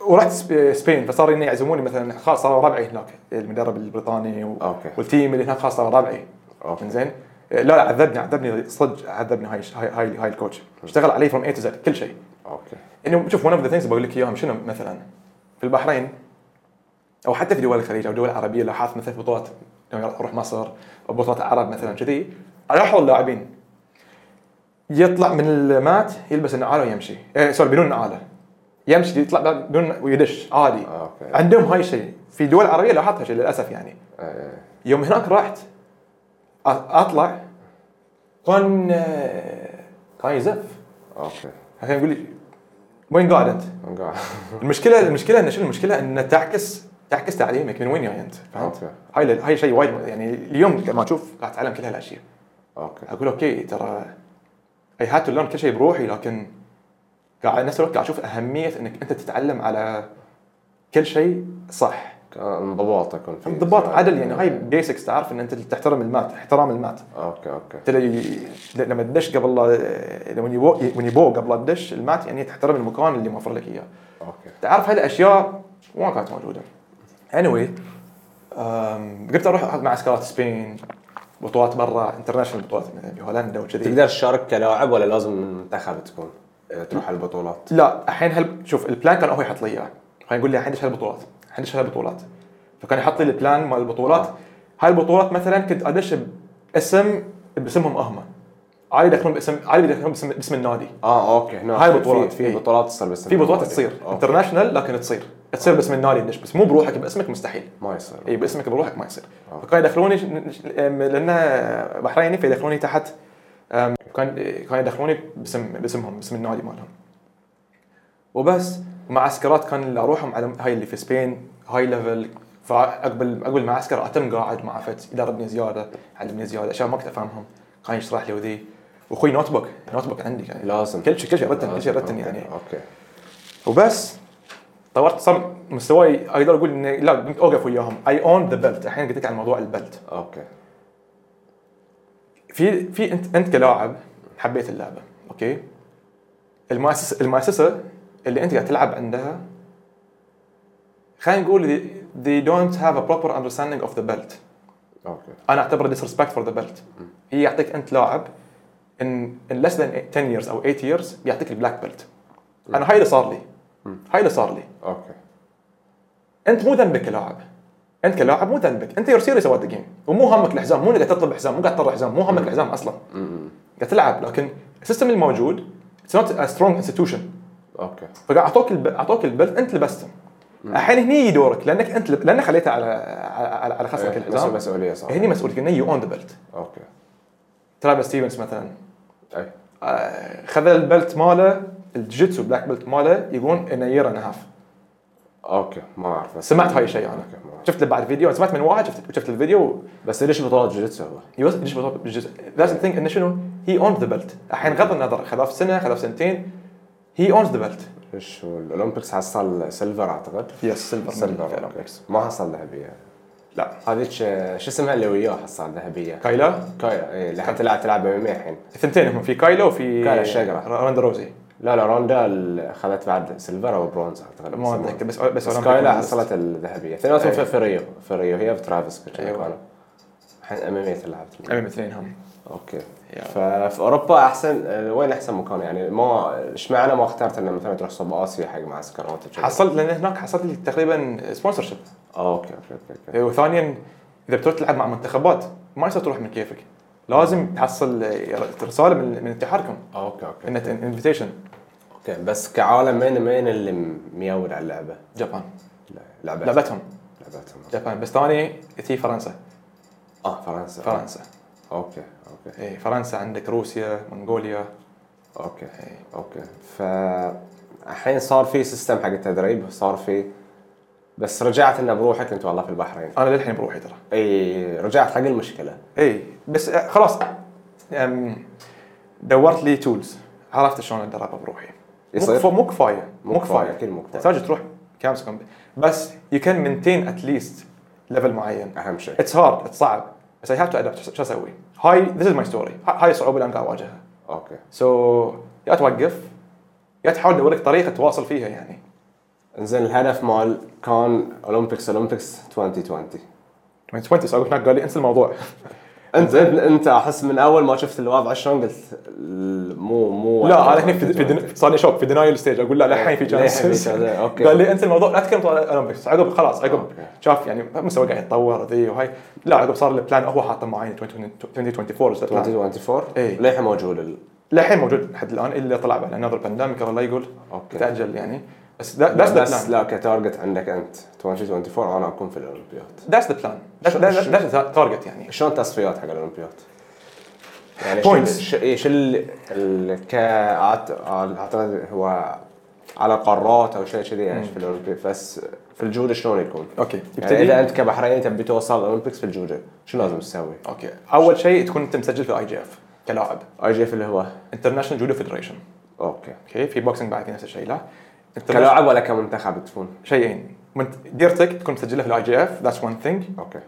C: ورحت سب- سبين فصار انه يعزموني مثلا خلاص صاروا ربعي هناك المدرب البريطاني و...
B: أوكي.
C: والتيم اللي هناك خلاص صاروا ربعي
B: أوكي.
C: زين لا لا عذبني عذبني صدق عذبني هاي هاي هاي, هاي الكوتش اشتغل علي فروم اي تو زد كل شيء
B: اوكي
C: انه شوف ون اوف ذا ثينجز بقول لك اياهم شنو مثلا في البحرين او حتى في دول الخليج او دول عربيه لاحظت مثلا في بطولات لما اروح مصر او بطولات العرب مثلا كذي الاحظ اللاعبين يطلع من المات يلبس النعاله ويمشي إيه سوري بدون نعاله يمشي يطلع بدون ويدش عادي
B: أوكي.
C: عندهم هاي الشيء في دول عربيه لاحظت هالشيء للاسف يعني
B: إيه.
C: يوم هناك رحت أ- اطلع كان آه، كان يزف
B: اوكي
C: الحين يقول لي وين قاعد انت؟
B: قاعد.
C: المشكله المشكله ان شنو المشكله ان تعكس تعكس تعليمك من وين جاي انت فهمت؟
B: أوكي.
C: هاي هاي شيء وايد يعني اليوم لما اشوف قاعد اتعلم كل هالاشياء
B: اوكي
C: اقول اوكي ترى اي هاد تو ليرن كل شيء بروحي لكن قاعد نفس الوقت قاعد اشوف اهميه انك انت تتعلم على كل شيء صح
B: كان انضباط اكون فيه
C: انضباط عدل يعني هاي بيسكس تعرف ان انت تحترم المات احترام المات
B: اوكي اوكي
C: تلاقي لما تدش قبل لا- لما يبو when you go قبل لا تدش المات يعني تحترم المكان اللي موفر لك اياه
B: اوكي
C: تعرف هاي الاشياء ما كانت موجوده anyway أم، قلت اروح مع سكالات سبين بطولات برا انترناشونال بطولات مثلا بهولندا وكذي
B: تقدر تشارك كلاعب ولا لازم من منتخب تكون إيه، تروح على البطولات
C: لا الحين هل شوف البلان كان هو يحط لي اياه كان يقول لي الحين ايش هالبطولات الحين ايش هالبطولات فكان يحط لي البلان مال البطولات هاي البطولات مثلا كنت ادش باسم باسمهم هم عادي يدخلون باسم عادي يدخلون باسم باسم النادي
B: اه اوكي هنا
C: هاي
B: في-
C: بطولات،
B: في
C: إيه.
B: في بطولات تصير بس
C: في بطولات
B: بالنادي.
C: تصير
B: أوكي.
C: انترناشونال لكن تصير تصير باسم النادي تدش بس مو بروحك باسمك مستحيل
B: ما يصير
C: اي باسمك بروحك ما يصير فكانوا يدخلوني لان بحريني يعني، فيدخلوني تحت أم، كان كانوا يدخلوني باسم باسمهم باسم النادي مالهم وبس معسكرات كان اللي اروحهم على هاي اللي في سبين هاي ليفل فاقبل اقبل معسكر اتم قاعد مع فت يدربني زياده علمني زياده اشياء ما كنت افهمهم كان يشرح لي وذي واخوي نوت بوك نوت بوك عندي يعني
B: لازم
C: كل شيء كل شيء رتن
B: لازم.
C: كل شيء رتن
B: أوكي.
C: يعني
B: اوكي
C: وبس طورت صار مستواي اقدر اقول اني لا قمت اوقف وياهم اي اون ذا بيلت الحين قلت لك عن موضوع البيلت
B: اوكي
C: في في انت انت كلاعب حبيت اللعبه اوكي المؤسسه المؤسسه اللي انت قاعد تلعب عندها خلينا نقول they- they don't have a proper understanding of the belt
B: اوكي
C: انا اعتبره disrespect for the belt هي يعطيك انت لاعب in, in less than 10 years او 8 years بيعطيك البلاك بيلت انا هاي اللي صار لي هاي اللي صار لي
B: اوكي
C: انت مو ذنبك كلاعب انت كلاعب مو ذنبك انت يور سيريس اباوت جيم ومو همك الحزام مو قاعد تطلب حزام مو قاعد تطلع حزام مو همك الحزام اصلا قاعد تلعب لكن السيستم الموجود اتس نوت ا سترونج انستتيوشن
B: اوكي
C: فقاعد اعطوك الب... اعطوك البلت انت لبسته الحين هني يجي دورك لانك انت لب... لانك خليته على على, على خصمك
B: إيه، بس
C: الحزام
B: مسؤوليه صح
C: هني مسؤوليتك هني يو اون ذا بلت
B: اوكي
C: ترافيس ستيفنز مثلا
B: اي
C: آه، خذ البلت ماله الجيتسو بلاك بلت ماله يقولون انه يير اند هاف
B: اوكي ما اعرف بس
C: سمعت هاي الشيء انا
B: اوكي ما أعرف.
C: شفت له بعد فيديو سمعت من واحد شفت شفت الفيديو
B: بس ليش بطولات جوجيتسو هو؟
C: يوز ليش بالضبط بالجزء ذاتس ثينك انه شنو هي اونز ذا بيلت الحين غض النظر خلاف سنه خلاف سنتين هي اونز ذا بيلت
B: ليش هو الاولمبيكس حصل سيلفر اعتقد
C: يس سيلفر
B: سيلفر الاولمبيكس ما حصل ذهبيه
C: لا
B: هذيك آه، شو اسمها اللي وياه حصل ذهبيه
C: كايلا
B: كايا اي اللي حتى لا تلعب ام الحين
C: الثنتين هم في كايلا وفي
B: كايلا الشقرة.
C: راندا روزي
B: لا لا روندا ال- خذت بعد سيلفر او برونز اعتقد
C: ما اتذكر بس بس
B: بس
C: أولمبيك
B: كايلا
C: ميدالست.
B: حصلت الذهبيه اثنيناتهم
C: أي.
B: في في ريو في ريو هي بترافيس كنت
C: أيوة.
B: أيوة. الحين ام ام اي تلعبت
C: امام الاثنين هم
B: اوكي
C: إيه. يا.
B: ففي اوروبا احسن آه، وين احسن مكان يعني ما اشمعنى ما اخترت انه مثلا تروح صوب اسيا حق معسكرات وكذا؟
C: حصلت لان هناك حصلت لي تقريبا سبونسر شيب
B: آه، اوكي اوكي اوكي, أوكي.
C: إيه. وثانيا اذا بتروح تلعب مع منتخبات ما يصير تروح من كيفك لازم تحصل رساله من من اتحادكم
B: آه، اوكي اوكي
C: انت انفيتيشن
B: اوكي بس كعالم مين مين اللي م- ميول على اللعبه؟
C: جابان
B: لا، لعبتهم
C: لعبتهم
B: لعبتهم
C: جابان بس ثاني تي فرنسا
B: اه فرنسا
C: آه، فرنسا
B: اوكي اوكي
C: ايه فرنسا عندك روسيا منغوليا
B: اوكي
C: إيه.
B: اوكي ف الحين صار في سيستم حق التدريب صار في بس رجعت انه بروحك انت والله في البحرين
C: انا للحين بروحي ترى
B: اي رجعت حق المشكله
C: اي بس آه، خلاص أم، دورت لي تولز عرفت شلون اتدرب بروحي مو
B: يصير؟
C: كفا- مو كفايه
B: مو
C: مو
B: كفاية،
C: كفايه
B: أكيد مو كفاية.
C: تحتاج تروح كامس كومب بس يو كان مينتين اتليست ليفل معين
B: اهم شيء
C: اتس هارد اتس صعب بس اي هاف تو ادابت شو اسوي؟ هاي ذيس از ماي ستوري هاي الصعوبه اللي انا قاعد اواجهها
B: اوكي
C: سو يا توقف يا تحاول تدور لك طريقه تواصل فيها يعني
B: انزين الهدف مال كان اولمبيكس اولمبيكس 2020
C: 2020 سو هناك قال لي انسى الموضوع
B: انت انت انت احس من اول ما شفت الوضع شلون قلت ال- مو مو
C: لا انا هنا في, في دن- صار لي شوك في دينايل ستيج اقول لا للحين في
B: للحين إيه، في
C: جانسز
B: chance، إيه، أوكي.
C: قال لي انت الموضوع لا تتكلم طال اولمبيكس عقب خلاص عقب
B: أوكي.
C: شاف يعني مستوى قاعد يتطور ذي وهاي لا عقب صار البلان هو حاطه معين 2024 is the plan.
B: 2024
C: إيه.
B: للحين موجود ال-
C: للحين موجود لحد الان الا طلع بعد another بانديميك الله يقول
B: اوكي
C: تاجل يعني بس that- that's the
B: بس
C: plan
B: لا كتارجت عندك انت 2024 انا اكون في الاولمبياد
C: that's the plan that's,
B: شو-
C: that's,
B: شو-
C: that's the target يعني
B: شلون تصفيات حق الاولمبياد؟ يعني
C: Points.
B: شو اي شو ال- ال- كا- أعت- اعتقد هو على قارات او شيء كذي يعني في الاولمبياد بس في الجوده شلون يكون؟
C: اوكي
B: يعني
C: يبتدي
B: اذا انت كبحريني تبي توصل الاولمبيكس في الجوده شو لازم تسوي؟
C: اوكي اول شيء تكون انت مسجل في اي جي اف كلاعب
B: اي جي في اللي هو
C: انترناشونال جودو فيدريشن
B: اوكي
C: اوكي في بوكسنج بعد في نفس الشيء لا International-
B: كلاعب ولا كمنتخب تكون؟
C: شيئين منت- ديرتك تكون مسجله في الاي جي اف ذاتس وان ثينج
B: اوكي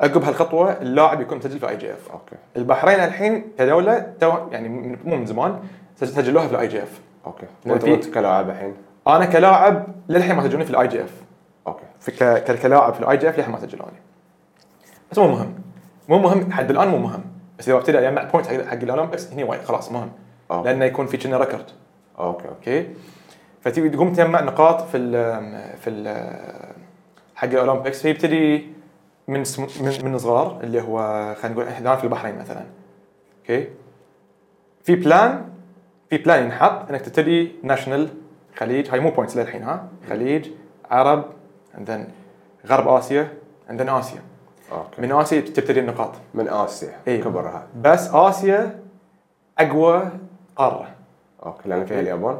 C: عقب هالخطوه اللاعب يكون مسجل في الاي جي اف
B: اوكي
C: البحرين الحين كدوله تو يعني من- مو من زمان سج- سجلوها في الاي جي اف
B: اوكي
C: لأن
B: وانت
C: في-
B: وانت كلاعب الحين
C: انا كلاعب للحين ما سجلوني في الاي جي اف
B: اوكي
C: في ك- ك- كلاعب في الاي جي اف للحين ما سجلوني بس مو مهم مو مهم حد الان مو مهم بس اذا ابتدى يجمع بوينت حق حق الاولمبيكس هني وايد خلاص مهم
B: أوكي.
C: لانه يكون في كنا ريكورد
B: اوكي اوكي
C: اوكي فتبي تقوم تجمع نقاط في ال في ال حق الاولمبيكس فيبتدي من سم- من من صغار اللي هو خلينا نقول احنا في البحرين مثلا اوكي في بلان في بلان ينحط انك تبتدي ناشونال خليج هاي مو بوينتس للحين ها خليج عرب عندن غرب اسيا عندن اسيا
B: اوكي من,
C: من اسيا تبتدي النقاط
B: من اسيا
C: إيه.
B: كبرها
C: بس اسيا اقوى قاره
B: اوكي لان فيها اليابان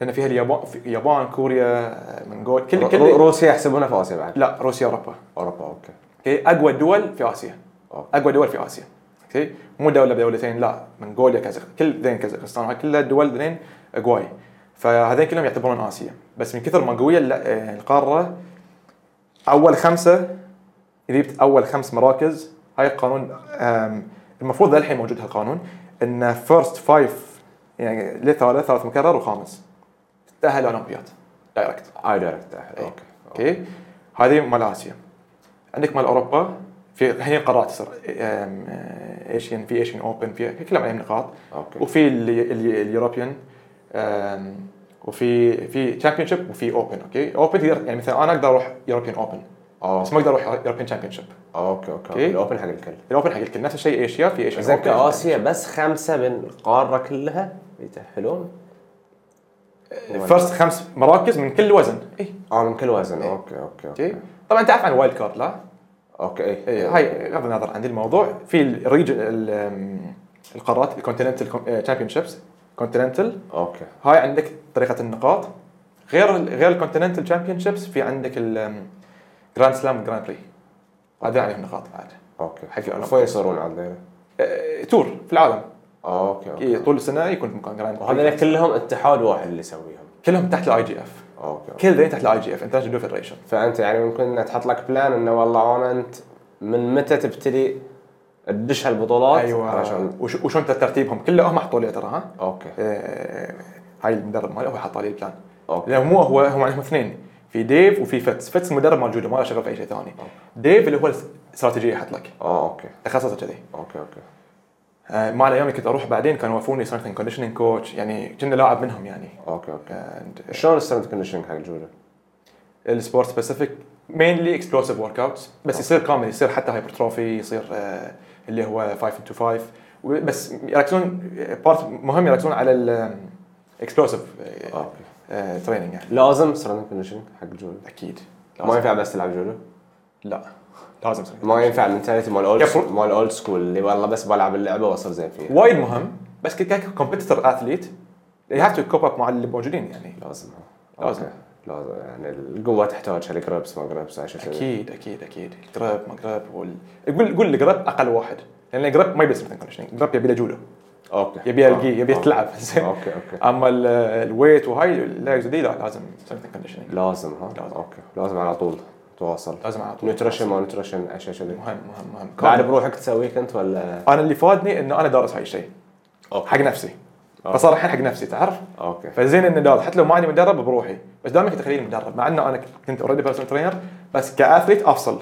C: لان فيها اليابان في اليابان كوريا منغول كل
B: رو-
C: كل
B: رو- روسيا يحسبونها في اسيا بعد
C: لا روسيا اوروبا
B: اوروبا اوكي
C: اوكي اقوى الدول في اسيا
B: اوكي
C: اقوى دول في اسيا اوكي مو دوله بدولتين لا منغوليا كازاخ كل ذين كازاخستان وهاي كلها دول ذين اقواي فهذين كلهم يعتبرون اسيا بس من كثر ما قويه ال- آه، القاره اول خمسه اذا جبت اول خمس مراكز هاي القانون آم، المفروض للحين موجود هالقانون ان فيرست فايف يعني لثالث ثالث مكرر وخامس تتاهل الاولمبياد دايركت
B: اي دايركت تأهل.
C: إيه.
B: اوكي
C: اوكي هذه مال اسيا عندك مال اوروبا في هي قارات تصير ايشين في ايشين اوبن في كلهم عليهم نقاط
B: اوكي
C: وفي اليوروبيان وفي في تشامبيون شيب وفي اوبن اوكي اوبن تقدر يعني مثلا انا اقدر اروح يوروبيان اوبن بس
B: اوكي
C: ما اقدر اروح يوروبيان تشامبيون شيب
B: اوكي اوكي
C: أوكي.
B: الاوبن حق الكل
C: الاوبن حق الكل نفس الشيء ايشيا في ايشين
B: زين
C: اوبن
B: كاسيا بس خمسه من القاره كلها يتاهلون
C: فيرست خمس مراكز من كل وزن اي
B: اه من كل وزن اوكي
C: اوكي
B: اوكي اوكي
C: طبعا تعرف عن وايلد كارد لا
B: اوكي إيه.
C: إيه، هاي غض النظر عن الموضوع في الريج ال- أم، القارات الكونتيننتال تشامبيون شيبس كونتيننتال
B: اوكي
C: هاي عندك طريقه النقاط غير ال- غير الكونتيننتال تشامبيون شيبس في عندك الجراند سلام جراند بري هذا عليهم نقاط يعني بعد
B: اوكي
C: حق الأولمبيكس.
B: فين يصيرون عندنا؟
C: أه، تور في العالم
B: اوكي
C: إيه،
B: اوكي
C: طول السنه يكون في مكان جراند بري
B: وهذول كلهم اتحاد واحد اللي يسويهم
C: كلهم تحت الاي جي اف
B: اوكي
C: كل ذي تحت الاي جي اف انترناشونال فيدريشن
B: فانت يعني ممكن انها تحط لك بلان انه والله انا انت من متى تبتدي تدش هالبطولات
C: ايوه
B: علشان
C: وش- وشلون ترتيبهم كلهم حطوا لي ترى ها
B: اوكي
C: آه، هاي المدرب ماله هو حط عليه البلان
B: اوكي
C: لانه مو هو هم عندهم اثنين في ديف وفي فتس فتس المدرب مال جودو ما له شغل في اي شيء ثاني ديف اللي هو الاستراتيجيه يحط لك
B: اه اوكي
C: تخصصه كذي
B: اوكي اوكي
C: آه، مع الايام اللي كنت اروح بعدين كانوا وقفوني سترينث اند كونديشننج كوتش يعني كنا لاعب منهم يعني
B: اوكي اوكي شلون السترنت كونديشننج حق الجوده؟
C: السبورت سبيسيفيك مينلي اكسبلوسيف ورك اوتس بس يصير كامل يصير حتى هايبرتروفي يصير آه، اللي هو 5 انتو 5 بس يركزون بارت مهم يركزون على الاكسبلوسيف
B: اوكي
C: تريننج يعني
B: لازم سترنت كونديشننج حق الجوده
C: اكيد
B: ما ينفع بس تلعب جوده
C: لا لازم صراحة.
B: ما ينفع المنتاليتي مال اولد
C: يفرق.
B: مال اولد سكول اللي والله بس بلعب اللعبه واصير زين فيها
C: وايد مهم بس ككومبيتيتور اثليت they have to cope up مع اللي موجودين يعني
B: لازم أوكي.
C: لازم.
B: لازم يعني القوه تحتاجها الجربس ما جربس اكيد
C: اكيد اكيد اكيد الجراب ما جراب وال... قول قول الجراب اقل واحد لان الجراب ما يبي سترينث كونديشننج الجراب يبي له جودو
B: اوكي
C: يبي القي يبي
B: آه. أوكي.
C: تلعب زين
B: اوكي اوكي
C: اما ال- الويت وهاي الليجز دي لا لازم سترينث كونديشننج
B: لازم ها
C: لازم.
B: اوكي لازم على طول تواصل
C: لازم على طول
B: نيوتريشن ما نيوتريشن اشياء كذي
C: مهم مهم مهم
B: بعد
C: كان-
B: بروحك تسويه كنت ولا
C: انا اللي فادني انه انا دارس هاي الشيء
B: اوكي
C: حق نفسي
B: أوكي.
C: فصار الحين حق نفسي تعرف
B: اوكي
C: فزين اني دارس حتى لو ما عندي مدرب بروحي بس دائما كنت اخليني مدرب مع انه انا كنت اوريدي بيرسونال ترينر بس كاثليت افصل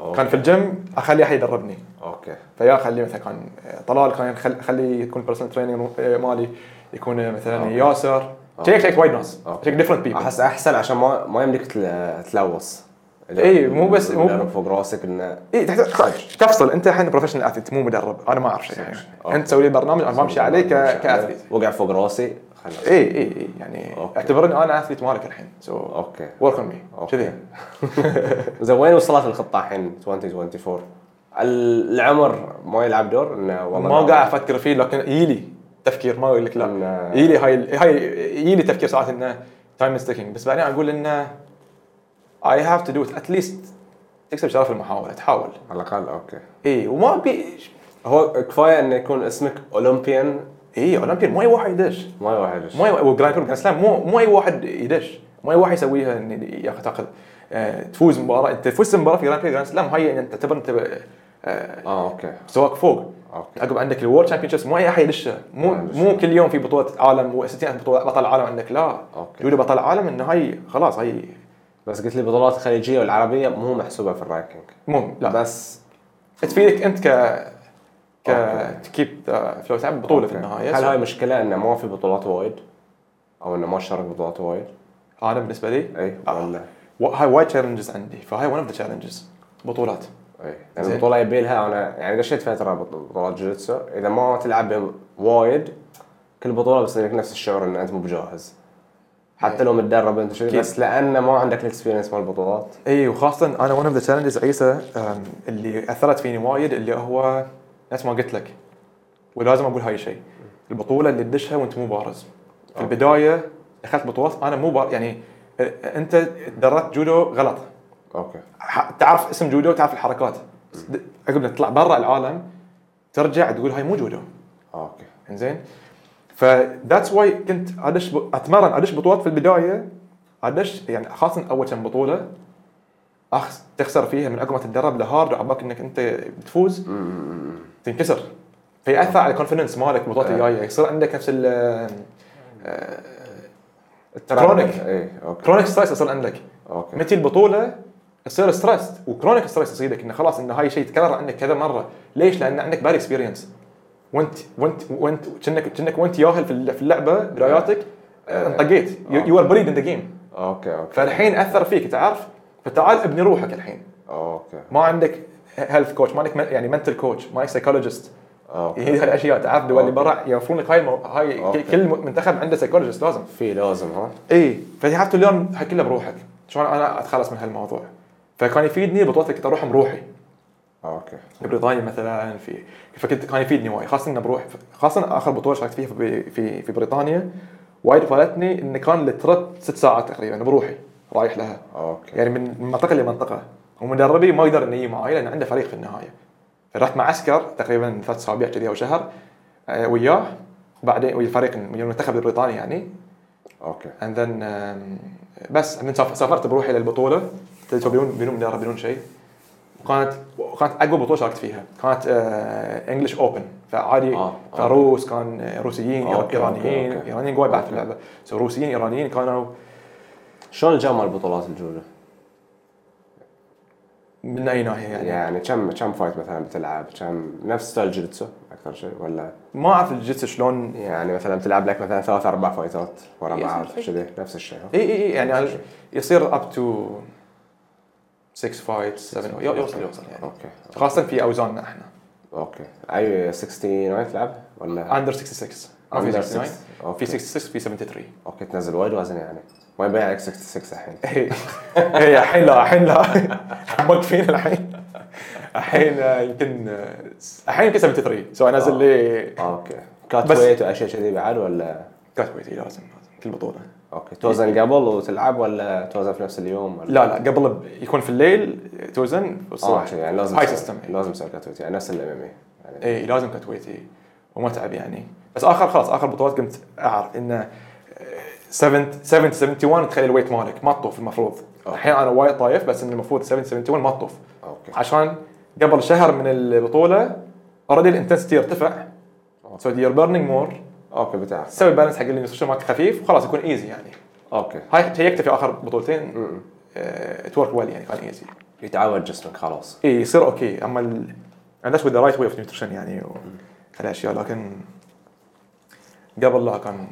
B: أوكي.
C: كان في الجيم اخلي احد يدربني
B: اوكي
C: فيا خلي مثلا كان طلال كان خل- خلي يكون بيرسونال تريننج مالي يكون مثلا
B: أوكي.
C: ياسر
B: أوكي.
C: شيك شيك وايد ناس
B: أوكي.
C: شيك ديفرنت بيبل
B: احس احسن عشان ما ما يمديك تل- تلوص
C: إيه، مو بس- مو-
B: مو فوق راسك انه
C: اي تحتاج إيه، طيب. تفصل انت الحين بروفيشنال اثليت مو مدرب انا ما اعرف شيء يعني.
B: أوكي.
C: انت تسوي لي برنامج انا بمشي عليه ك- كاثليت
B: وقع فوق راسي خلاص
C: اي اي اي يعني
B: أوكي.
C: اعتبرني انا اثليت مالك الحين سو
B: اوكي
C: ورك اون مي
B: أوكي.
C: كذي
B: زين وين وصلت الخطه الحين 2024 العمر ما يلعب دور انه والله
C: ما قاعد افكر فيه لكن يجيلي تفكير ما اقول لك لا
B: إنه-
C: يجيلي هاي هاي يجيلي تفكير ساعات انه تايم ستيكينج بس بعدين اقول انه اي هاف تو دو ات ليست تكسب شرف المحاوله تحاول
B: على الاقل اوكي
C: اي وما ابي
B: هو كفايه انه يكون اسمك اولمبيان
C: اي اولمبيا مو اي واحد يدش
B: ما يوحدش
C: مو اي وجراند كور جراند سلام مو مو اي واحد يدش مو اي واحد يسويها إن ياخذ تاخذ آه، تفوز مباراه انت فزت مباراه في جراند كور جراند سلام هاي يعني تعتبر انت آه،
B: اه اوكي
C: مستواك فوق
B: اوكي
C: عقب عندك الورد شامبيونشيبس مو اي احد يدشها مو
B: ما يدشها.
C: مو كل يوم في بطوله عالم و60 بطوله بطل عالم عندك لا
B: أوكي.
C: جودو بطل عالم انه هاي خلاص هاي
B: بس قلت لي بطولات الخليجيه والعربيه مو محسوبه في الرانكينج
C: مو لا
B: بس
C: تفيدك انت ك ك
B: أوكي.
C: تكيب فلو تعب بطوله في
B: أوكي.
C: النهايه
B: هل
C: So،
B: هاي مشكله انه ما في بطولات وايد او انه ما شارك بطولات وايد
C: انا بالنسبه لي
B: اي
C: آه.
B: ولا
C: و- هاي وايد تشالنجز عندي فهاي ون اوف ذا تشالنجز بطولات
B: اي
C: زين.
B: يعني البطوله يبي لها انا يعني دشيت فتره بط- بطولات جوجيتسو اذا ما تلعب بها وايد كل بطوله بيصير لك نفس الشعور ان انت مو بجاهز حتى لو متدرب انت شوي
C: أكيد.
B: بس لان ما عندك الاكسبيرينس مال البطولات
C: اي وخاصه انا ون اوف ذا تشالنجز عيسى أم، اللي اثرت فيني وايد اللي هو نفس ما قلت لك ولازم اقول هاي الشيء البطوله اللي تدشها وانت مو بارز في البدايه دخلت بطولات انا مو بارز يعني أ- انت دربت جودو غلط
B: اوكي
C: ح- تعرف اسم جودو تعرف الحركات بس د- عقب ما تطلع برا العالم ترجع تقول هاي مو جودو
B: اوكي
C: انزين فذاتس واي كنت ادش ب... اتمرن ادش بطولات في البدايه ادش يعني خاصه اول كم بطوله أخس... تخسر فيها من عقب ما تتدرب لهارد وعباك انك انت بتفوز تنكسر فياثر على الكونفدنس مالك البطولات الجايه يصير عندك نفس ال آه، كرونيك
B: اي اوكي
C: كرونيك ستريس يصير عندك
B: اوكي
C: متى البطوله يصير ستريس وكرونيك ستريس يصيدك انه خلاص انه هاي شيء يتكرر عندك كذا مره ليش؟ لان عندك باد اكسبيرينس وانت وانت وانت كأنك كأنك وانت ياهل في الل- في اللعبه بداياتك
B: آه.
C: انطقيت يو ار بريد ان ذا جيم
B: اوكي اوكي
C: فالحين اثر فيك تعرف فتعال ابني روحك الحين
B: اوكي
C: ما عندك هيلث كوتش ما عندك من- يعني منتل كوتش ما عندك سايكولوجيست
B: اوكي
C: هي هالاشياء تعرف دول اللي
B: أوكي.
C: برا يوفرون لك هاي المو- هاي
B: أوكي.
C: كل منتخب عنده سايكولوجيست لازم
B: في لازم ها
C: اي فهي هاف تو ليرن هاي كلها بروحك شلون انا اتخلص من هالموضوع فكان يفيدني بطولات كنت اروحهم بروحي
B: اوكي
C: بريطانيا مثلا في فكنت كان يفيدني وايد خاصه انه بروح خاصه اخر بطوله شاركت فيها في في, في بريطانيا وايد فادتني ان كان الترب ست ساعات تقريبا بروحي رايح لها
B: اوكي
C: يعني من منطقه لمنطقه ومدربي ما يقدر انه يجي معي لان عنده فريق في النهايه فرحت مع عسكر تقريبا ثلاث اسابيع كذي او شهر آه، وياه وبعدين ويا الفريق ويا المنتخب البريطاني يعني
B: اوكي
C: and then um, بس من سافر- سافرت بروحي للبطوله تدري بدون بدون مدرب بدون شيء وكانت وكانت اقوى بطوله شاركت فيها كانت انجلش اوبن فعادي
B: آه، آه.
C: فروس كان آه، روسيين
B: أوكي، أوكي،
C: ايرانيين
B: أوكي.
C: ايرانيين قوي بعد في
B: أوكي.
C: اللعبه سو روسيين ايرانيين كانوا
B: شلون الجامعه البطولات الجوله؟
C: من اي ناحيه يعني
B: يعني كم كم فايت مثلا بتلعب؟ كم نفس ستايل جوجيتسو اكثر شيء ولا
C: ما اعرف الجيتس شلون
B: يعني مثلا بتلعب لك مثلا ثلاث اربع فايتات ورا
C: يس،
B: بعض
C: أكيد.
B: كذي نفس الشيء ها؟
C: اي اي اي يعني أنا- يصير اب تو 6 فايت 7 يوصل يوصل يعني
B: اوكي
C: خاصه في اوزاننا احنا
B: اوكي اي 69 تلعب ولا
C: اندر 66 ما في
B: Under
C: 69
B: أوكي.
C: في 66 في 73
B: اوكي تنزل وايد وزن يعني ما يبيع عليك 66 الحين
C: ايه إيه، الحين لا الحين لا موقفين الحين الحين آه، يمكن آه، الحين يمكن 73 سو انزل
B: آه.
C: لي
B: اوكي كات
C: بس-
B: ويت واشياء كذي بعد ولا
C: كات ويت إيه، لازم لازم كل بطوله
B: اوكي توزن قبل وتلعب ولا توزن في نفس اليوم ولا
C: لا لا قبل ب- يكون في الليل توزن
B: اه
C: والصبح
B: عشان يعني لازم
C: هاي
B: تسوي-
C: سيستم
B: لازم تسوي كات ويت يعني نفس الام ام اي يعني
C: اي إيه، لازم كات ويت اي ومتعب يعني بس اخر خلاص اخر بطولات قمت اعرف انه 7 7 71 تخلي الويت مالك ما تطوف المفروض
B: أوكي.
C: الحين انا وايد طايف بس إن المفروض 7 71 ما تطوف
B: اوكي
C: عشان قبل شهر من البطوله اوريدي الانتنسيتي يرتفع
B: آه.
C: سو يور بيرنينج مور
B: اوكي بتعرف
C: تسوي بالانس حق النيوتريشن مالك خفيف وخلاص يكون ايزي يعني
B: اوكي
C: هاي تهيأت في اخر بطولتين آه،
B: م-م.
C: تورك ويل يعني كان إيه، ايزي
B: يتعود جسمك خلاص
C: اي يصير اوكي اما ال- and that's with the right way of nutrition يعني و- هالاشياء لكن قبل لا كان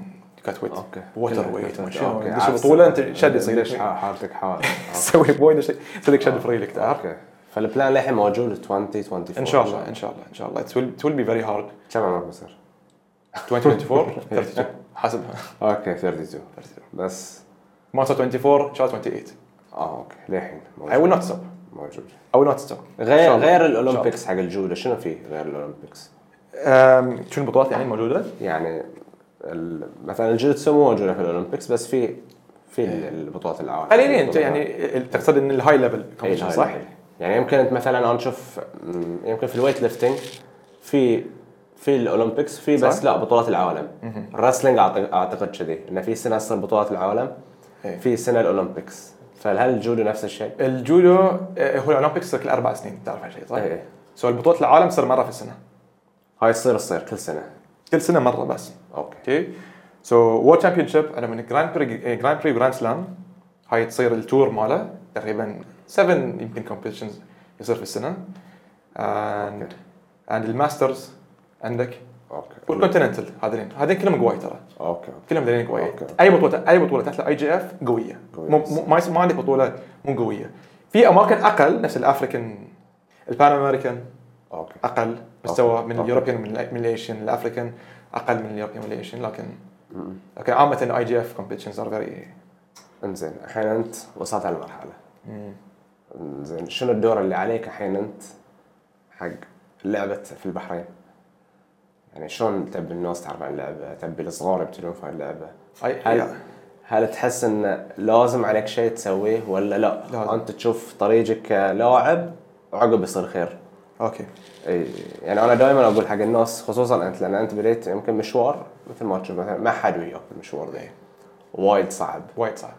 C: كات ويت ووتر ويت ما شاء الله تدش بطوله انت شد يصير
B: ليش
C: لك.
B: حالتك حال
C: تسوي بوينه شيء يصير لك شد فريلك تعرف
B: اوكي فالبلان للحين موجود 2024
C: ان شاء الله ان شاء الله ان شاء الله it will be very hard
B: كم عمرك بصير؟
C: 2024 32 حسبها
B: اوكي 32 بس
C: ما صار 24 ان شاء الله 28
B: اه اوكي للحين
C: I
B: موجود
C: will not stop
B: موجود
C: I will not stop
B: غير
C: إن شاء الله. إن شاء الله.
B: غير الاولمبيكس حق الجوده شنو في غير الاولمبيكس؟
C: أم، شنو البطولات يعني موجوده؟
B: يعني ال- مثلا الجوجيتسو مو موجوده في الاولمبيكس بس في في البطولات العالم
C: قليلين انت إيه. يعني ال- تقصد ان الهاي ليفل
B: إيه،
C: كومبيتيشن صح؟
B: الهاي. يعني يمكن انت مثلا انا اشوف م، يمكن في الويت ليفتنج في في الاولمبيكس في بس
C: صح؟
B: لا بطولات العالم الرسلينج أعت- اعتقد كذي انه في سنه اصلا بطولات العالم
C: إيه.
B: في سنه الاولمبيكس فهل الجودو نفس الشيء؟
C: الجودو آه، هو الاولمبيكس صار كل اربع سنين تعرف هالشيء صح؟
B: إيه، إيه.
C: سو البطولة العالم صار مره في السنه
B: هاي تصير تصير كل سنه
C: كل سنه مره بس
B: اوكي
C: اوكي سو وورد تشامبيون شيب انا من eh, جراند بري جراند بري وجراند سلام هاي تصير التور ماله تقريبا 7 يمكن كومبيتيشنز يصير في السنه اند اند الماسترز عندك
B: اوكي
C: والكونتيننتال هذين هذين كلهم قواي ترى
B: اوكي
C: كلهم دليلين قويه
B: أوكي.
C: اي بطوله اي بطوله تحت الاي جي اف قويه
B: قوية.
C: مو مو- ما يس- ما عندك بطوله مو قويه في اماكن اقل نفس الافريكان البان امريكان
B: اوكي
C: اقل مستوى من
B: أوكي.
C: اليوروبيان من ال- من الايشن الافريكان اقل من اليوروبيان والايشن لكن لكن عامه الاي جي اف كومبيتيشنز ار فيري
B: انزين الحين انت وصلت على المرحله انزين شنو الدور اللي عليك الحين انت حق لعبه في البحرين؟ يعني شلون تبي الناس تعرف عن اللعبه؟ تبي الصغار يبتدون في اللعبه؟ هل هل تحس ان لازم عليك شيء تسويه ولا لا؟
C: لازم.
B: انت تشوف طريقك كلاعب وعقب يصير خير.
C: اوكي
B: اي يعني انا دائما اقول حق الناس خصوصا انت لان انت بديت يمكن مشوار مثل ما تشوف مثلا ما حد وياك المشوار ذا وايد صعب
C: وايد صعب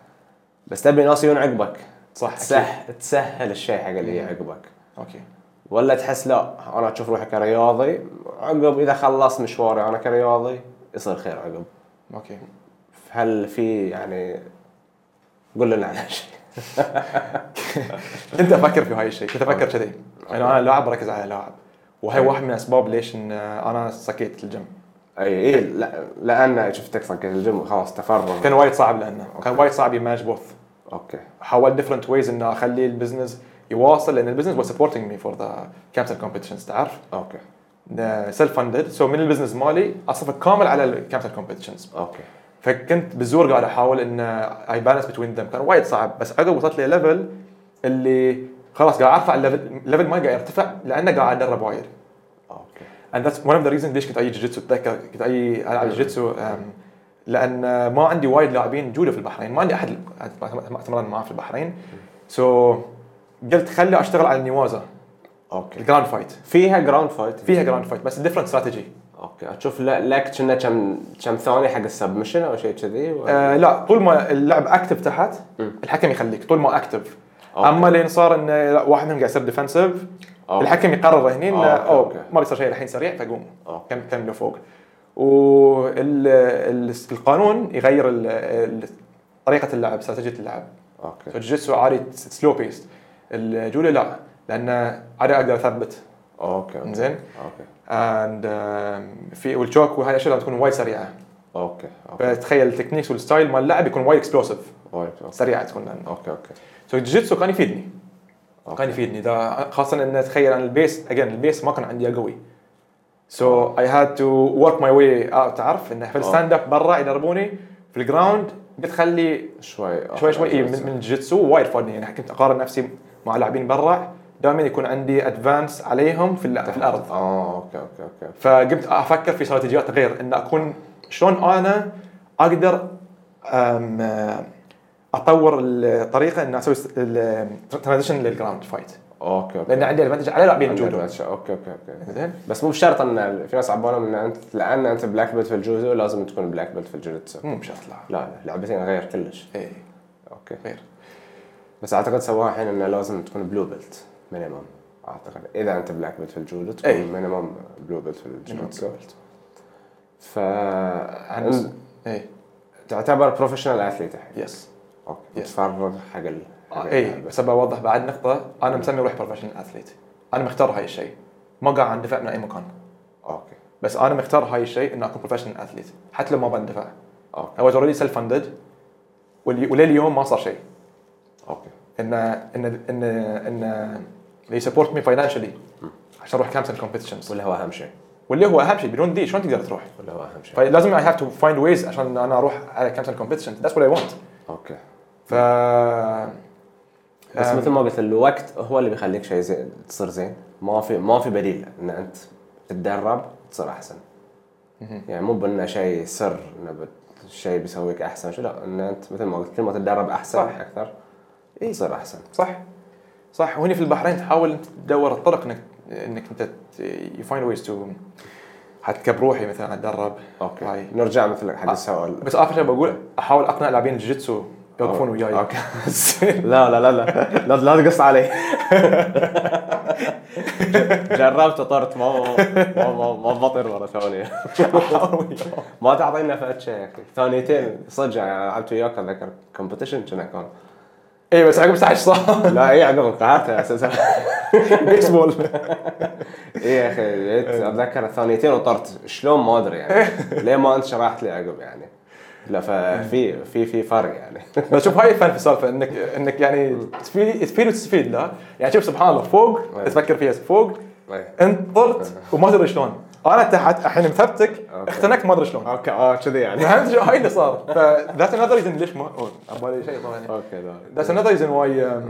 B: بس تبي ناس يجون عقبك
C: صح إيه.
B: تسهل تسهل الشيء حق اللي عقبك
C: اوكي
B: ولا تحس لا انا اشوف روحي كرياضي عقب اذا خلصت مشواري انا كرياضي يصير خير عقب
C: اوكي
B: هل في يعني قول لنا عن هالشيء
C: كنت افكر في هاي الشيء كنت افكر كذي انه انا لاعب بركز على لاعب وهي واحد من الاسباب ليش ان انا سكيت الجيم
B: اي اي إيه، لا لان شفتك صكيت الجيم خلاص تفرغ
C: كان وايد صعب لانه كان وايد صعب يمانج بوث
B: اوكي
C: حاولت ديفرنت ويز انه اخلي البزنس يواصل لان البزنس واز سبورتنج مي فور ذا كامسل كومبيتيشنز تعرف
B: اوكي
C: سيلف فندد سو آه، من البزنس مالي اصرف كامل على الكامسل كومبيتيشنز
B: اوكي
C: فكنت بالزور قاعد احاول ان اي بالانس بتوين ذم كان وايد صعب بس عقب وصلت لي ليفل اللي خلاص قاعد ارفع الليفل الليفل مالي قاعد يرتفع لانه قاعد ادرب وايد
B: اوكي
C: and that's one of the reasons ليش كنت اي جوجيتسو اتذكر كنت اي العب جوجيتسو أم، لان ما عندي وايد لاعبين جوده في البحرين ما عندي احد اتمرن معاه في البحرين سو قلت خلي اشتغل على النوازه
B: اوكي
C: الجراند فايت
B: فيها جراوند فايت
C: فيها جراند فايت بس ديفرنت استراتيجي
B: اوكي اشوف لا- لك كنا كم كم ثانيه حق السبمشن او شيء كذي ولا-
C: آه لا طول ما اللعب اكتف تحت الحكم يخليك طول ما اكتف
B: أوكي.
C: اما لين صار ان لا، واحد منهم قاعد يصير ديفنسيف
B: أوكي.
C: الحكم يقرر هني انه
B: أوكي،
C: أوه،
B: أوكي.
C: ما بيصير شيء الحين سريع فقوم
B: أوكي.
C: كم كملوا فوق والقانون يغير ال- ال- طريقه اللعب استراتيجيه اللعب
B: اوكي
C: فالجيتسو عادي سلو بيست الجوله لا لان عادي اقدر اثبت
B: اوكي أوكي.
C: زين
B: اوكي
C: اند في والتشوك وهاي الاشياء لازم تكون وايد سريعه
B: اوكي اوكي
C: فتخيل التكنيكس والستايل مال اللاعب يكون وايد اكسبلوسيف
B: وايد اوكي
C: سريعه تكون لنا
B: اوكي اوكي
C: سو الجيتسو كان يفيدني
B: أوكي.
C: كان يفيدني اذا خاصه ان تخيل انا البيس اجين البيس ما كان عندي قوي سو اي هاد تو ورك ماي واي اوت تعرف انه في الستاند اب برا يدربوني في الجراوند قلت خلي
B: شوي
C: شوي شوي إيه من, من الجيتسو وايد فادني يعني كنت اقارن نفسي مع لاعبين برا دائما يكون عندي ادفانس عليهم في, ال- في الارض
B: اه اوكي اوكي اوكي
C: فقمت افكر في استراتيجيات غير ان اكون شلون انا اقدر أم، اطور الطريقه ان اسوي ترانزيشن للجراوند فايت
B: اوكي اوكي
C: لان عندي ادفانتج على لاعبين
B: عندي
C: جودو
B: advantage. اوكي اوكي اوكي
C: زين
B: بس مو بشرط ان في ناس على بالهم ان انت لان انت بلاك بيلت في الجوزو لازم تكون بلاك بيلت في الجوجيتسو
C: مو بشرط لا إيه،
B: لا لا لعبتين غير كلش
C: اي
B: اوكي
C: غير
B: بس اعتقد سواها الحين انه لازم تكون بلو بيلت مينيمم اعتقد اذا انت بلاك بيلت في الجودو تكون
C: إي.
B: مينيمم بلو بيلت في الجوجيتسو ف
C: عن- اي
B: تعتبر بروفيشنال اثليت الحين
C: يس
B: اوكي
C: إيه، Yes. إيه،
B: متفرغ حق ال حق
C: اي
B: اللعبة.
C: بس ابى اوضح بعد نقطه انا مسمي روحي بروفيشنال اثليت انا مختار هاي الشيء ما قاعد اندفع من اي مكان
B: اوكي
C: بس انا مختار هاي الشيء اني اكون بروفيشنال اثليت حتى لو ما بندفع
B: اوكي
C: اي واز اوريدي سيلف فندد ولليوم ما صار شيء
B: اوكي
C: ان ان ان ان they support me financially عشان اروح كامس كومبيتيشنز
B: واللي هو اهم شيء طيب.
C: واللي هو اهم شيء بدون دي شلون تقدر تروح؟ طيب
B: واللي هو اهم شيء
C: فلازم اي هاف تو فايند ويز عشان انا اروح على كامس كومبيتيشن ذاتس وات اي ونت
B: اوكي
C: ف
B: بس
C: أم.
B: مثل ما قلت الوقت هو اللي بيخليك شيء زين تصير زين ما في ما في بديل ان انت تتدرب تصير احسن يعني مو بانه شيء سر انه بت- شيء بيسويك احسن شو لا ان انت مثل ما قلت كل ما تتدرب احسن
C: صح.
B: اكثر تصير احسن
C: صح صح وهنا في البحرين تحاول تدور الطرق انك انك انت يو فايند ويز تو حتى كبروحي مثلا اتدرب
B: اوكي
C: هاي.
B: نرجع مثل حق
C: آه.
B: السؤال
C: بس اخر شيء بقول احاول اقنع لاعبين الجيتسو يوقفون
B: أو-
C: وياي
B: أوكي.
C: زين.
B: لا لا لا لا لا, لا تقص علي جربت وطرت ما ما ما, ما بطير مره ثانيه
C: أحاول وياهم.
B: ما تعطينا فد شيء يا اخي ثانيتين صدق يعني لعبت وياك اتذكر كومبتيشن كنا كان
C: اي إيه، بس عقب الساعه ايش صار؟
B: لا إيه، اي عقب انقهرت اساسا
C: بيسبول
B: اي إيه يا اخي جيت اتذكر ثانيتين وطرت شلون ما ادري يعني ليه ما انت شرحت لي عقب يعني لا ففي في في فرق يعني
C: بس شوف هاي الفن في السالفه انك انك يعني تفيد تفيد وتستفيد لا يعني شوف سبحان الله فوق
B: أي.
C: تفكر فيها فوق
B: أي.
C: انت طرت وما تدري شلون انا تحت الحين مثبتك
B: أيوة. أوكي.
C: اختنقت ما ادري شلون
B: اوكي اه كذي يعني
C: فهمت شو هاي اللي صار فذات انذر ريزن ليش ما عبالي شيء طبعا
B: اوكي لا
C: ذات انذر ريزن واي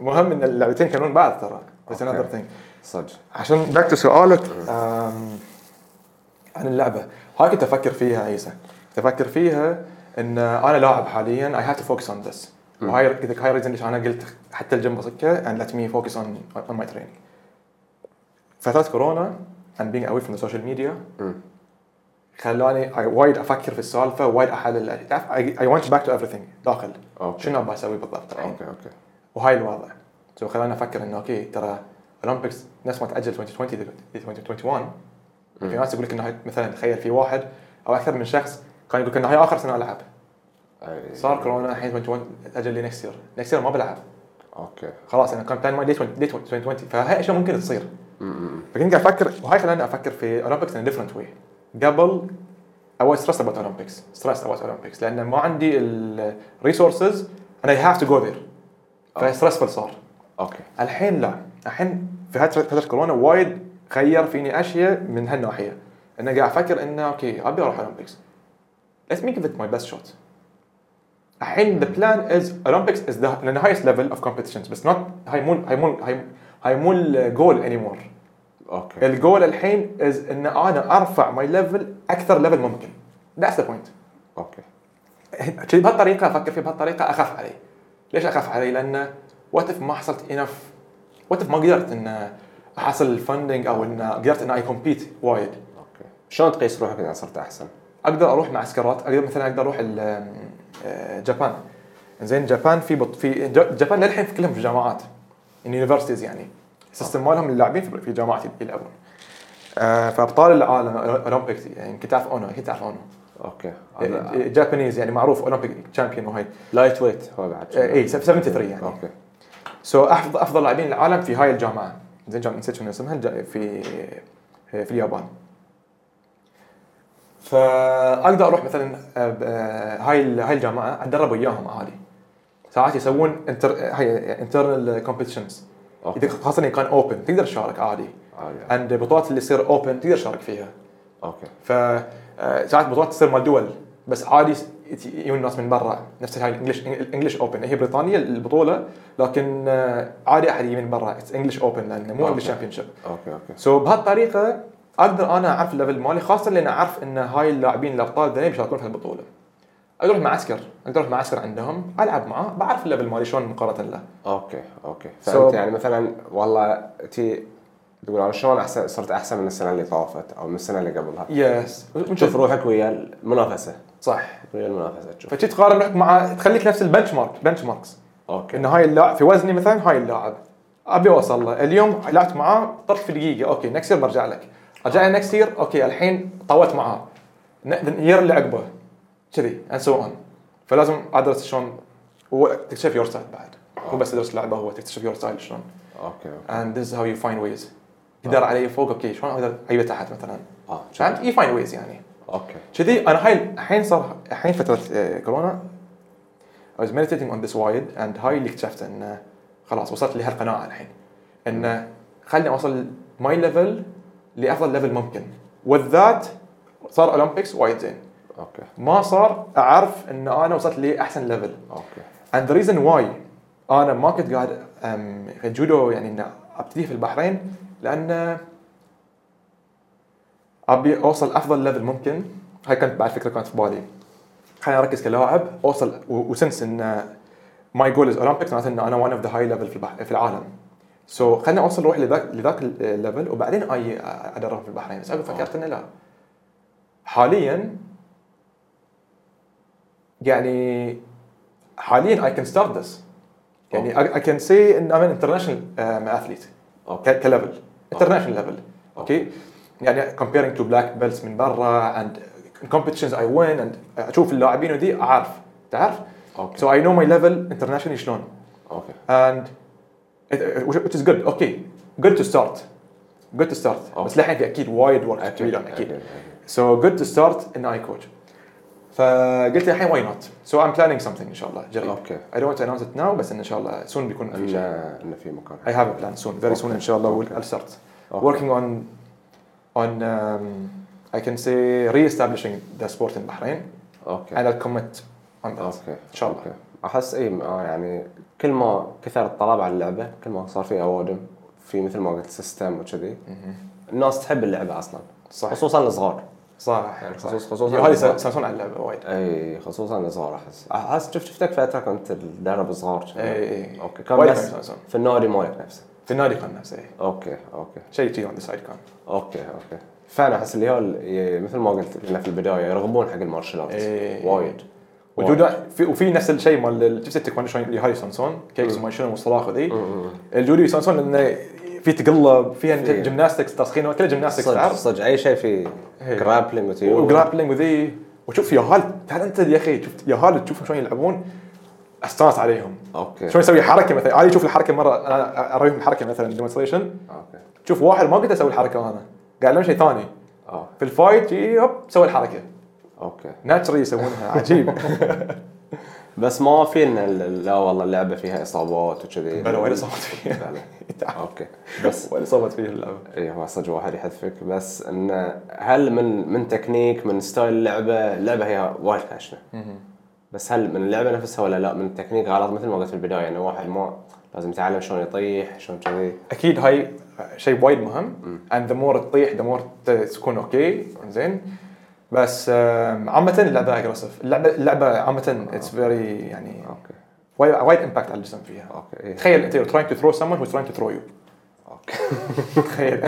C: مهم ان اللعبتين كانون بعض ترى بس انذر
B: أوكي.
C: ثينج
B: صدق
C: عشان باك تو سؤالك آم، عن اللعبه هاي كنت افكر فيها عيسى كنت افكر فيها ان انا لاعب حاليا اي هاف تو فوكس اون ذس وهاي قلت هاي ريزن ليش انا قلت حتى الجيم بصكه اند ليت مي فوكس اون اون ماي تريننج فتره كورونا اند بينج اواي فروم السوشيال ميديا
B: مم.
C: خلاني أي وايد افكر في السالفه وايد احلل تعرف اي ونت باك تو ايفري داخل
B: أوكي.
C: شنو ابغى اسوي بالضبط الحين
B: اوكي اوكي
C: وهاي الوضع سو خلاني افكر انه اوكي ترى اولمبيكس ناس ما تاجل 2020 ل 2021 في ناس يقول لك انه هاي- مثلا تخيل في واحد او اكثر من شخص كان يقول لك انه هاي اخر سنه العب
B: أي.
C: صار كورونا الحين 2021 تاجل لي نكست يير نكست يير ما بلعب
B: اوكي
C: خلاص انا كان بلان ماي ليت 2020 فهاي اشياء ممكن تصير فكنت قاعد افكر وهاي خلاني افكر في اولمبيكس ان ديفرنت واي قبل اول ستريس ابوت اولمبيكس ستريس ابوت اولمبيكس لان ما عندي الريسورسز انا اي هاف تو جو ذير فستريسفل صار
B: اوكي
C: الحين لا الحين في فترة فترة كورونا وايد غير فيني اشياء من هالناحية انا قاعد افكر انه اوكي ابي اروح اولمبيكس let me give it my best shot الحين the plan is Olympics is the, the highest level of competitions بس not هاي مو هاي مو هاي- هاي مو الجول uh, anymore
B: اوكي
C: الجول الحين is ان انا ارفع my level اكثر level ممكن that's the point
B: اوكي
C: كذي بهالطريقه افكر فيه بهالطريقه اخاف عليه ليش اخاف عليه لانه وات اف ما حصلت انف وات اف ما قدرت ان احصل الفندنج او ان قدرت ان اي كومبيت وايد
B: اوكي شلون تقيس روحك اذا صرت احسن؟
C: اقدر اروح معسكرات اقدر مثلا اقدر اروح ال- آه، جابان زين جابان في بط في ج- جابان للحين في كلهم في جامعات اليونيفرسيتيز يعني السيستم مالهم اللاعبين في- في جامعات يلعبون آه، فابطال العالم اولمبيك يعني يمكن تعرف اونو اكيد تعرف اونو
B: اوكي إيه،
C: جابانيز يعني معروف اولمبيك تشامبيون وهي
B: لايت ويت هو بعد
C: آه، اي 73 يعني
B: اوكي
C: سو افضل افضل لاعبين العالم في هاي الجامعه زين جامعه نسيت شنو اسمها الج- في إيه، في اليابان فاقدر اروح مثلا آه، ب- آه، هاي ال- هاي الجامعه اتدرب وياهم عادي ساعات يسوون انتر هاي انترنال كومبيتيشنز
B: اوكي
C: خاصه إذا كان اوبن تقدر تشارك عادي
B: عالي.
C: عند بطولات اللي تصير اوبن تقدر تشارك فيها
B: اوكي
C: ف آه، ساعات بطولات تصير مال دول بس عادي س- يت- يجون ناس من برا نفس هاي الانجلش الانجلش اوبن هي بريطانيا البطوله لكن آه، عادي احد يجي من برا اتس انجلش اوبن لانه مو
B: أوكي.
C: انجلش شامبيون شيب
B: اوكي اوكي
C: سو بهالطريقه اقدر انا اعرف الليفل مالي خاصه لان اعرف ان هاي اللاعبين الابطال ذني بيشاركون في البطوله اقدر اروح معسكر اقدر اروح معسكر عندهم العب معاه بعرف الليفل مالي شلون مقارنه له
B: اوكي اوكي
C: So-
B: فانت يعني مثلا والله تي تقول انا شلون احسن صرت احسن من السنه اللي طافت او من السنه اللي قبلها
C: إيه، يس
B: تشوف روحك ويا المنافسه
C: صح
B: ويا المنافسه تشوف
C: فشي تقارن روحك مع تخليك نفس البنش مارك بنش ماركس
B: اوكي
C: انه هاي اللاعب في وزني مثلا هاي اللاعب ابي اوصل له اليوم لعبت معاه طرت في دقيقه اوكي نكست يير برجع لك رجع نكست يير اوكي الحين طولت معاه يير اللي عقبه كذي اند سو اون فلازم ادرس شلون وتكتشف يور ستايل بعد مو بس تدرس اللعبه هو تكتشف يور ستايل شلون
B: اوكي
C: and this is how you find ways قدر علي فوق اوكي شلون اقدر اجيبه تحت مثلا
B: اه
C: فهمت اي فاين ويز يعني
B: اوكي
C: كذي انا هاي الحين صار الحين فتره آه، كورونا I was meditating on this وايد and هاي اللي اكتشفت انه خلاص وصلت لهالقناعه الحين انه خلني اوصل ماي ليفل لافضل ليفل ممكن وذات صار اولمبيكس وايد زين
B: اوكي
C: ما صار اعرف ان انا وصلت لاحسن ليفل
B: اوكي
C: and the reason why انا ما كنت قاعد أم، جودو يعني ان ابتدي في البحرين لان ابي اوصل افضل ليفل ممكن هاي كانت بعد فكره كانت في بالي خليني اركز كلاعب اوصل و- وسنس ان ماي جول از اولمبيكس معناته ان انا ون اوف ذا هاي ليفل في البح- في العالم سو so, خليني اوصل روحي لذاك لذاك الليفل وبعدين اي ادرب في البحرين بس أنا فكرت انه لا حاليا يعني حاليا I can start this يعني I, I can say ان I'm an international um, athlete
B: اوكي
C: ك- كليفل international level اوكي يعني comparing to black belts من برا and competitions I win and اشوف اللاعبين ودي اعرف تعرف
B: اوكي
C: so I know my level internationally شلون
B: اوكي
C: and it, it is good اوكي good to start good to start بس للحين في اكيد وايد ورك
B: اكيد
C: اكيد
B: اكيد
C: So good to start in اي كوتش فقلت الحين واي نوت سو ام بلانينج something ان شاء الله جريء
B: أوكي.
C: اي دونت اناونس ات ناو بس ان شاء الله سون بيكون في شيء
B: انه انه في مكان
C: اي هاف ا بلان سون فيري سون ان شاء الله ويل ستارت
B: أوكي.
C: working on on um, I can say re-establishing the sport in Bahrain
B: اوكي
C: and I'll commit on that
B: اوكي
C: ان شاء الله
B: أوكي. احس اي م- آه يعني كل ما كثر الطلب على اللعبه كل ما صار في اوادم في مثل ما قلت سيستم وكذي الناس تحب اللعبه اصلا
C: صح.
B: خصوصا الصغار
C: صح
B: يعني
C: صح.
B: خصوص- خصوصاً-
C: هذه سامسون على اللعبه وايد
B: اي خصوصا الصغار احس احس شفت شفتك فتره كنت تدرب صغار
C: إي، اي
B: اوكي كان
C: وايد
B: بس
C: كان سامسون.
B: في النادي مالك نفسه
C: في النادي كان ناس اي
B: اوكي اوكي
C: شيء كذي اون ذا سايد كان
B: اوكي اوكي فعلا احس اللي هو ال- مثل ما قلت لنا في البدايه يرغبون حق المارشال ارت
C: إي.
B: وايد
C: وجودو في وفي نفس الشيء مال ال- شفت التيكواندو شلون اللي هاي سانسون كيكس وما شنو والصراخ ذي الجودو سانسون انه في تقلب فيها
B: في-
C: جمناستكس تسخين كله جمناستكس
B: صدق
C: تعرف
B: صدق اي شيء في
C: إي.
B: جرابلينج وتيو
C: وجرابلينج وذي وشوف يا هال تالنتد يا اخي شفت يا هال تشوفهم شلون يلعبون استانس عليهم
B: اوكي
C: شلون يسوي حركه مثلا انا اشوف الحركه مره انا اوريهم الحركه مثلا ديمونستريشن
B: اوكي
C: شوف واحد ما قدرت اسوي الحركه انا قاعد لهم شيء ثاني
B: اه
C: في الفايت يي، هوب سوي الحركه
B: اوكي
C: ناتشري يسوونها عجيب
B: بس ما في ان ال- لا والله اللعبه فيها اصابات وكذي
C: بلا ولا صوت فيها
B: اوكي بس
C: ولا صوت فيه اللعبه
B: اي هو صدق واحد يحذفك بس انه هل من من تكنيك من ستايل اللعبه اللعبه هي وايد خشنه بس هل من اللعبه نفسها ولا لا من التكنيك غلط مثل ما قلت في البدايه انه واحد ما لازم يتعلم شلون يطيح شلون كذي
C: اكيد هاي شيء وايد مهم اند ذا مور تطيح ذا مور تكون اوكي زين بس آم، عامة اللعبة اجريسف اللعبة اللعبة عامة اتس فيري يعني
B: اوكي
C: وايد وايد امباكت على الجسم فيها
B: اوكي إيه.
C: تخيل انت you're trying to throw someone who's trying to throw you
B: اوكي
C: تخيل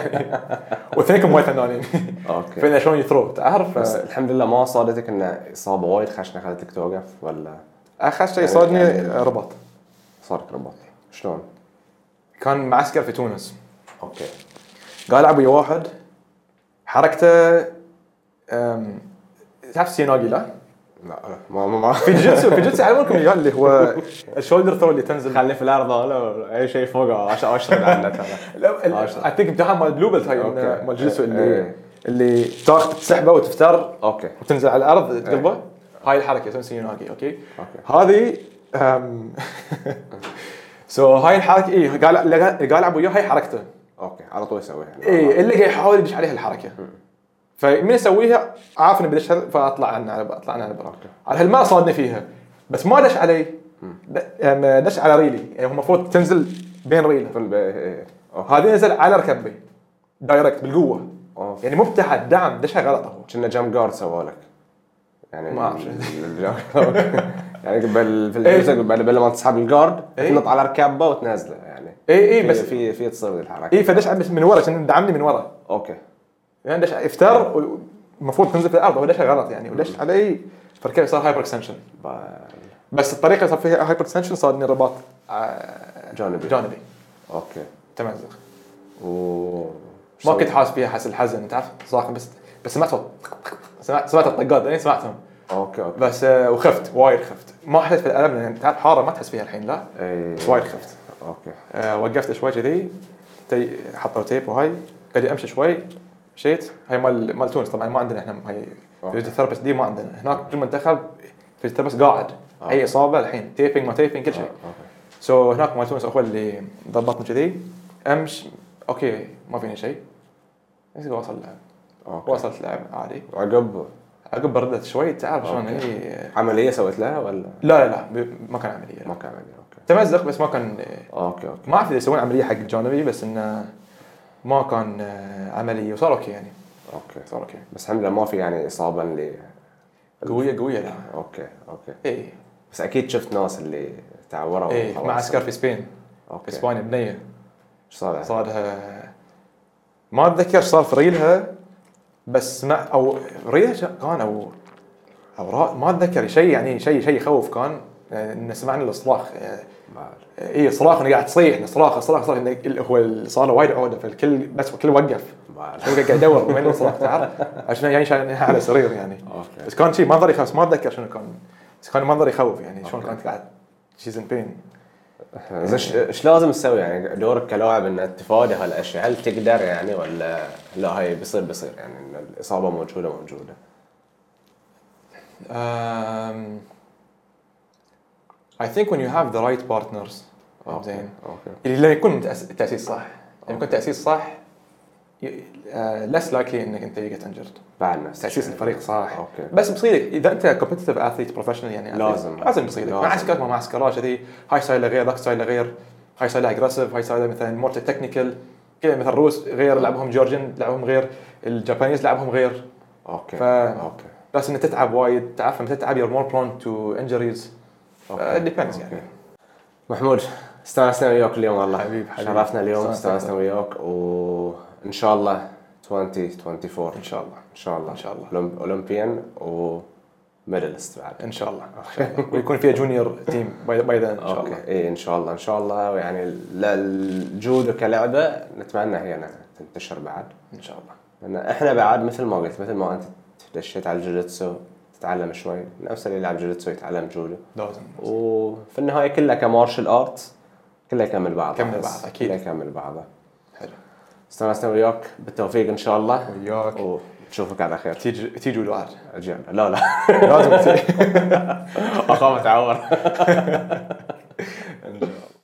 C: واثنينكم وايد فنانين
B: اوكي
C: فين شلون يثرو تعرف
B: بس
C: آه،
B: الحمد لله ما صادتك انه اصابه وايد خشنه خلتك توقف ولا
C: اخر شيء
B: يعني-
C: صادني
B: يعني-
C: ربط
B: صارك رباط شلون؟
C: كان معسكر في تونس
B: اوكي
C: قاعد العب ويا واحد حركته أم، تعرف سيناجيلا
B: لا ما ما ما
C: في جيتسو في جيتسو يعلمونكم اياه اللي هو الشولدر ثرو اللي تنزل
B: خليه في الارض ولا اي شيء فوقه عشان اشرد عنه ترى عشرة.
C: اي ثينك امتحان مال بلو بيلت هاي
B: أوكي.
C: إنه مال جيتسو اللي
B: إيه.
C: اللي تاخذ تسحبه وتفتر
B: اوكي
C: وتنزل على
B: إيه.
C: الارض تقلبه هاي الحركه اسمها سيناجي اوكي
B: اوكي
C: هذه سو هاي إيه، الحركه اي قاعد قاعد العب وياه هاي حركته
B: اوكي على طول يسويها يعني.
C: اي اللي قاعد يحاول يدش عليها الحركه فمن يسويها عارف اني بدش فاطلع عنها على اطلع عنها على برا
B: أوكي.
C: على هالمره صادني فيها بس ما دش علي د- أم، دش على ريلي يعني هو المفروض تنزل بين ريله
B: فن- إيه، إيه، إيه. اوكي
C: هذه نزل على ركبي دايركت بالقوه
B: أوف.
C: يعني مو بتحت دعم دشها غلط هو
B: كنا جام جارد سوى لك يعني
C: ما أعرف.
B: ال- ال- يعني بال في الجزء بعد بل ما تسحب الجارد
C: إيه.
B: تنط على ركابه وتنازله يعني
C: اي اي
B: في-
C: بس إيه.
B: في في تصير ذي الحركه
C: اي فدش على- بس من ورا عشان دعمني من ورا
B: اوكي
C: يعني دش افتر و- المفروض تنزل في الارض هو دشها غلط يعني ودش علي فركبي صار هايبر اكستنشن
B: بال-
C: بس الطريقه اللي صار فيها هايبر اكستنشن صادني رباط آه،
B: جانبي.
C: جانبي
B: اوكي
C: تمزق
B: و
C: ما كنت حاسس فيها حس الحزن تعرف صراحه بس بس سمعت صوت سمعت سمعت الطقات لين سمعتهم
B: اوكي اوكي
C: بس آه، وخفت وايد خفت ما حسيت في الالم لان تعرف حاره ما تحس فيها الحين لا
B: إيه.
C: بس وايد خفت
B: اوكي
C: آه، وقفت شوي كذي تي حطوا تيب وهاي ادري امشي شوي مشيت هاي مال مال تونس طبعا ما عندنا احنا هاي
B: أوكي.
C: فيزيوثيرابيست دي ما عندنا هناك كل من دخل فيزيوثيرابيست قاعد
B: آه.
C: اي اصابه الحين تيبنج ما تيبنج كل شيء سو هناك مال تونس اخوي اللي ضبطني كذي امش اوكي ما فيني شيء بس واصل لعب
B: اوكي اوكي
C: واصلت لعب عادي
B: عقب
C: عقب بردت شوي تعرف شلون
B: أوكي.
C: هي
B: عمليه سويت لها ولا
C: لا لا لا ب- ما كان عمليه
B: ما
C: لا.
B: كان عمليه اوكي
C: تمزق بس ما كان
B: اوكي اوكي
C: ما اعرف اذا يسوون عمليه حق الجانبي بس انه ما كان عمليه وصار اوكي يعني
B: اوكي
C: صار اوكي
B: بس الحمد لله ما في يعني اصابه اللي
C: قويه قويه لا
B: اوكي اوكي
C: اي
B: بس اكيد شفت ناس اللي تعوروا
C: اي
B: وخلاص.
C: إيه، مع عسكر في سبين في
B: اوكي ايش
C: اسبانيا بنيه
B: صار
C: صادها آه، ما اتذكر صار في ريلها بس ما او ريلها شا- كان او او را- ما اتذكر شيء يعني شيء شيء يخوف كان يعني إن سمعنا الصراخ آه،
B: ما أعرف.
C: اي إيه، صراخ إنه قاعد تصيح إنه صراخ صراخ صراخ إنه ال- هو ال- صار له وايد عوده فالكل بس الكل وقف
B: ما أعرف.
C: الكل قاعد يدور وين الصراخ تعرف عشان يعني شايل على سرير يعني
B: اوكي
C: بس كان شيء منظر يخوف ما اتذكر شنو كان بس كان منظر يخوف يعني شلون
B: أوكي.
C: كانت قاعد شيز ان بين
B: زين إيش- ايش لازم تسوي يعني دورك كلاعب ان تتفادى هالاشياء هل تقدر يعني ولا لا هاي بيصير بيصير يعني ان الاصابه موجوده موجوده
C: Um, I think when you have the right partners زين
B: اوكي
C: اللي لا يكون تأس- تأسيس صح لما يكون تأسيس صح ي- آه، less likely انك انت يجت انجرد
B: بعد نفس
C: تأسيس
B: الشيء.
C: الفريق صح
B: اوكي
C: بس بصيدك اذا انت كومبتتف اثليت بروفيشنال يعني athlete،
B: لازم.
C: لازم بصيدك مع
B: لازم.
C: عسكر ما مع عسكرات كذي هاي ستايله غير ذاك ستايله غير هاي ستايله اجريسيف هاي ستايله مثلا مور تكنيكال كذا مثلا الروس غير لعبهم جورجن لعبهم غير الجابانيز لعبهم غير
B: اوكي
C: ف-
B: اوكي
C: بس انك تتعب وايد تعرف لما تتعب you're more prone to injuries
B: أوكي.
C: depends
B: أوكي.
C: يعني.
B: محمود استانسنا وياك اليوم والله
C: حبيب- حبيب.
B: شرفنا اليوم
C: استانست
B: استانسنا
C: أكثر.
B: وياك وان شاء الله 2024
C: ان شاء الله
B: ان شاء الله
C: إن شاء الله.
B: أولم- اولمبيان وميدالست بعد
C: ان شاء الله ان شاء الله ويكون فيها جونيور تيم باي باي ذا ان شاء الله
B: اوكي اي ان شاء الله ان شاء الله ويعني ال- الجودة كلعبه نتمنى هي انها تنتشر بعد
C: ان شاء الله
B: لان احنا بعد مثل ما قلت مثل ما انت دشيت على الجوجيتسو تتعلم شوي نفس اللي يلعب جوجيتسو يتعلم جودو
C: لازم
B: وفي النهايه كلها كمارشال ارت كلها يكمل بعضها
C: كمل
B: بس.
C: بعض، أكيد.
B: كلها يكمل بعضها
C: حلو
B: استانسنا وياك بالتوفيق ان شاء الله
C: وياك
B: ونشوفك على خير
C: تيجي تيجي ولو عاد
B: اجل لا لا
C: لازم تيجي
B: اخاف اتعور
C: ان شاء الله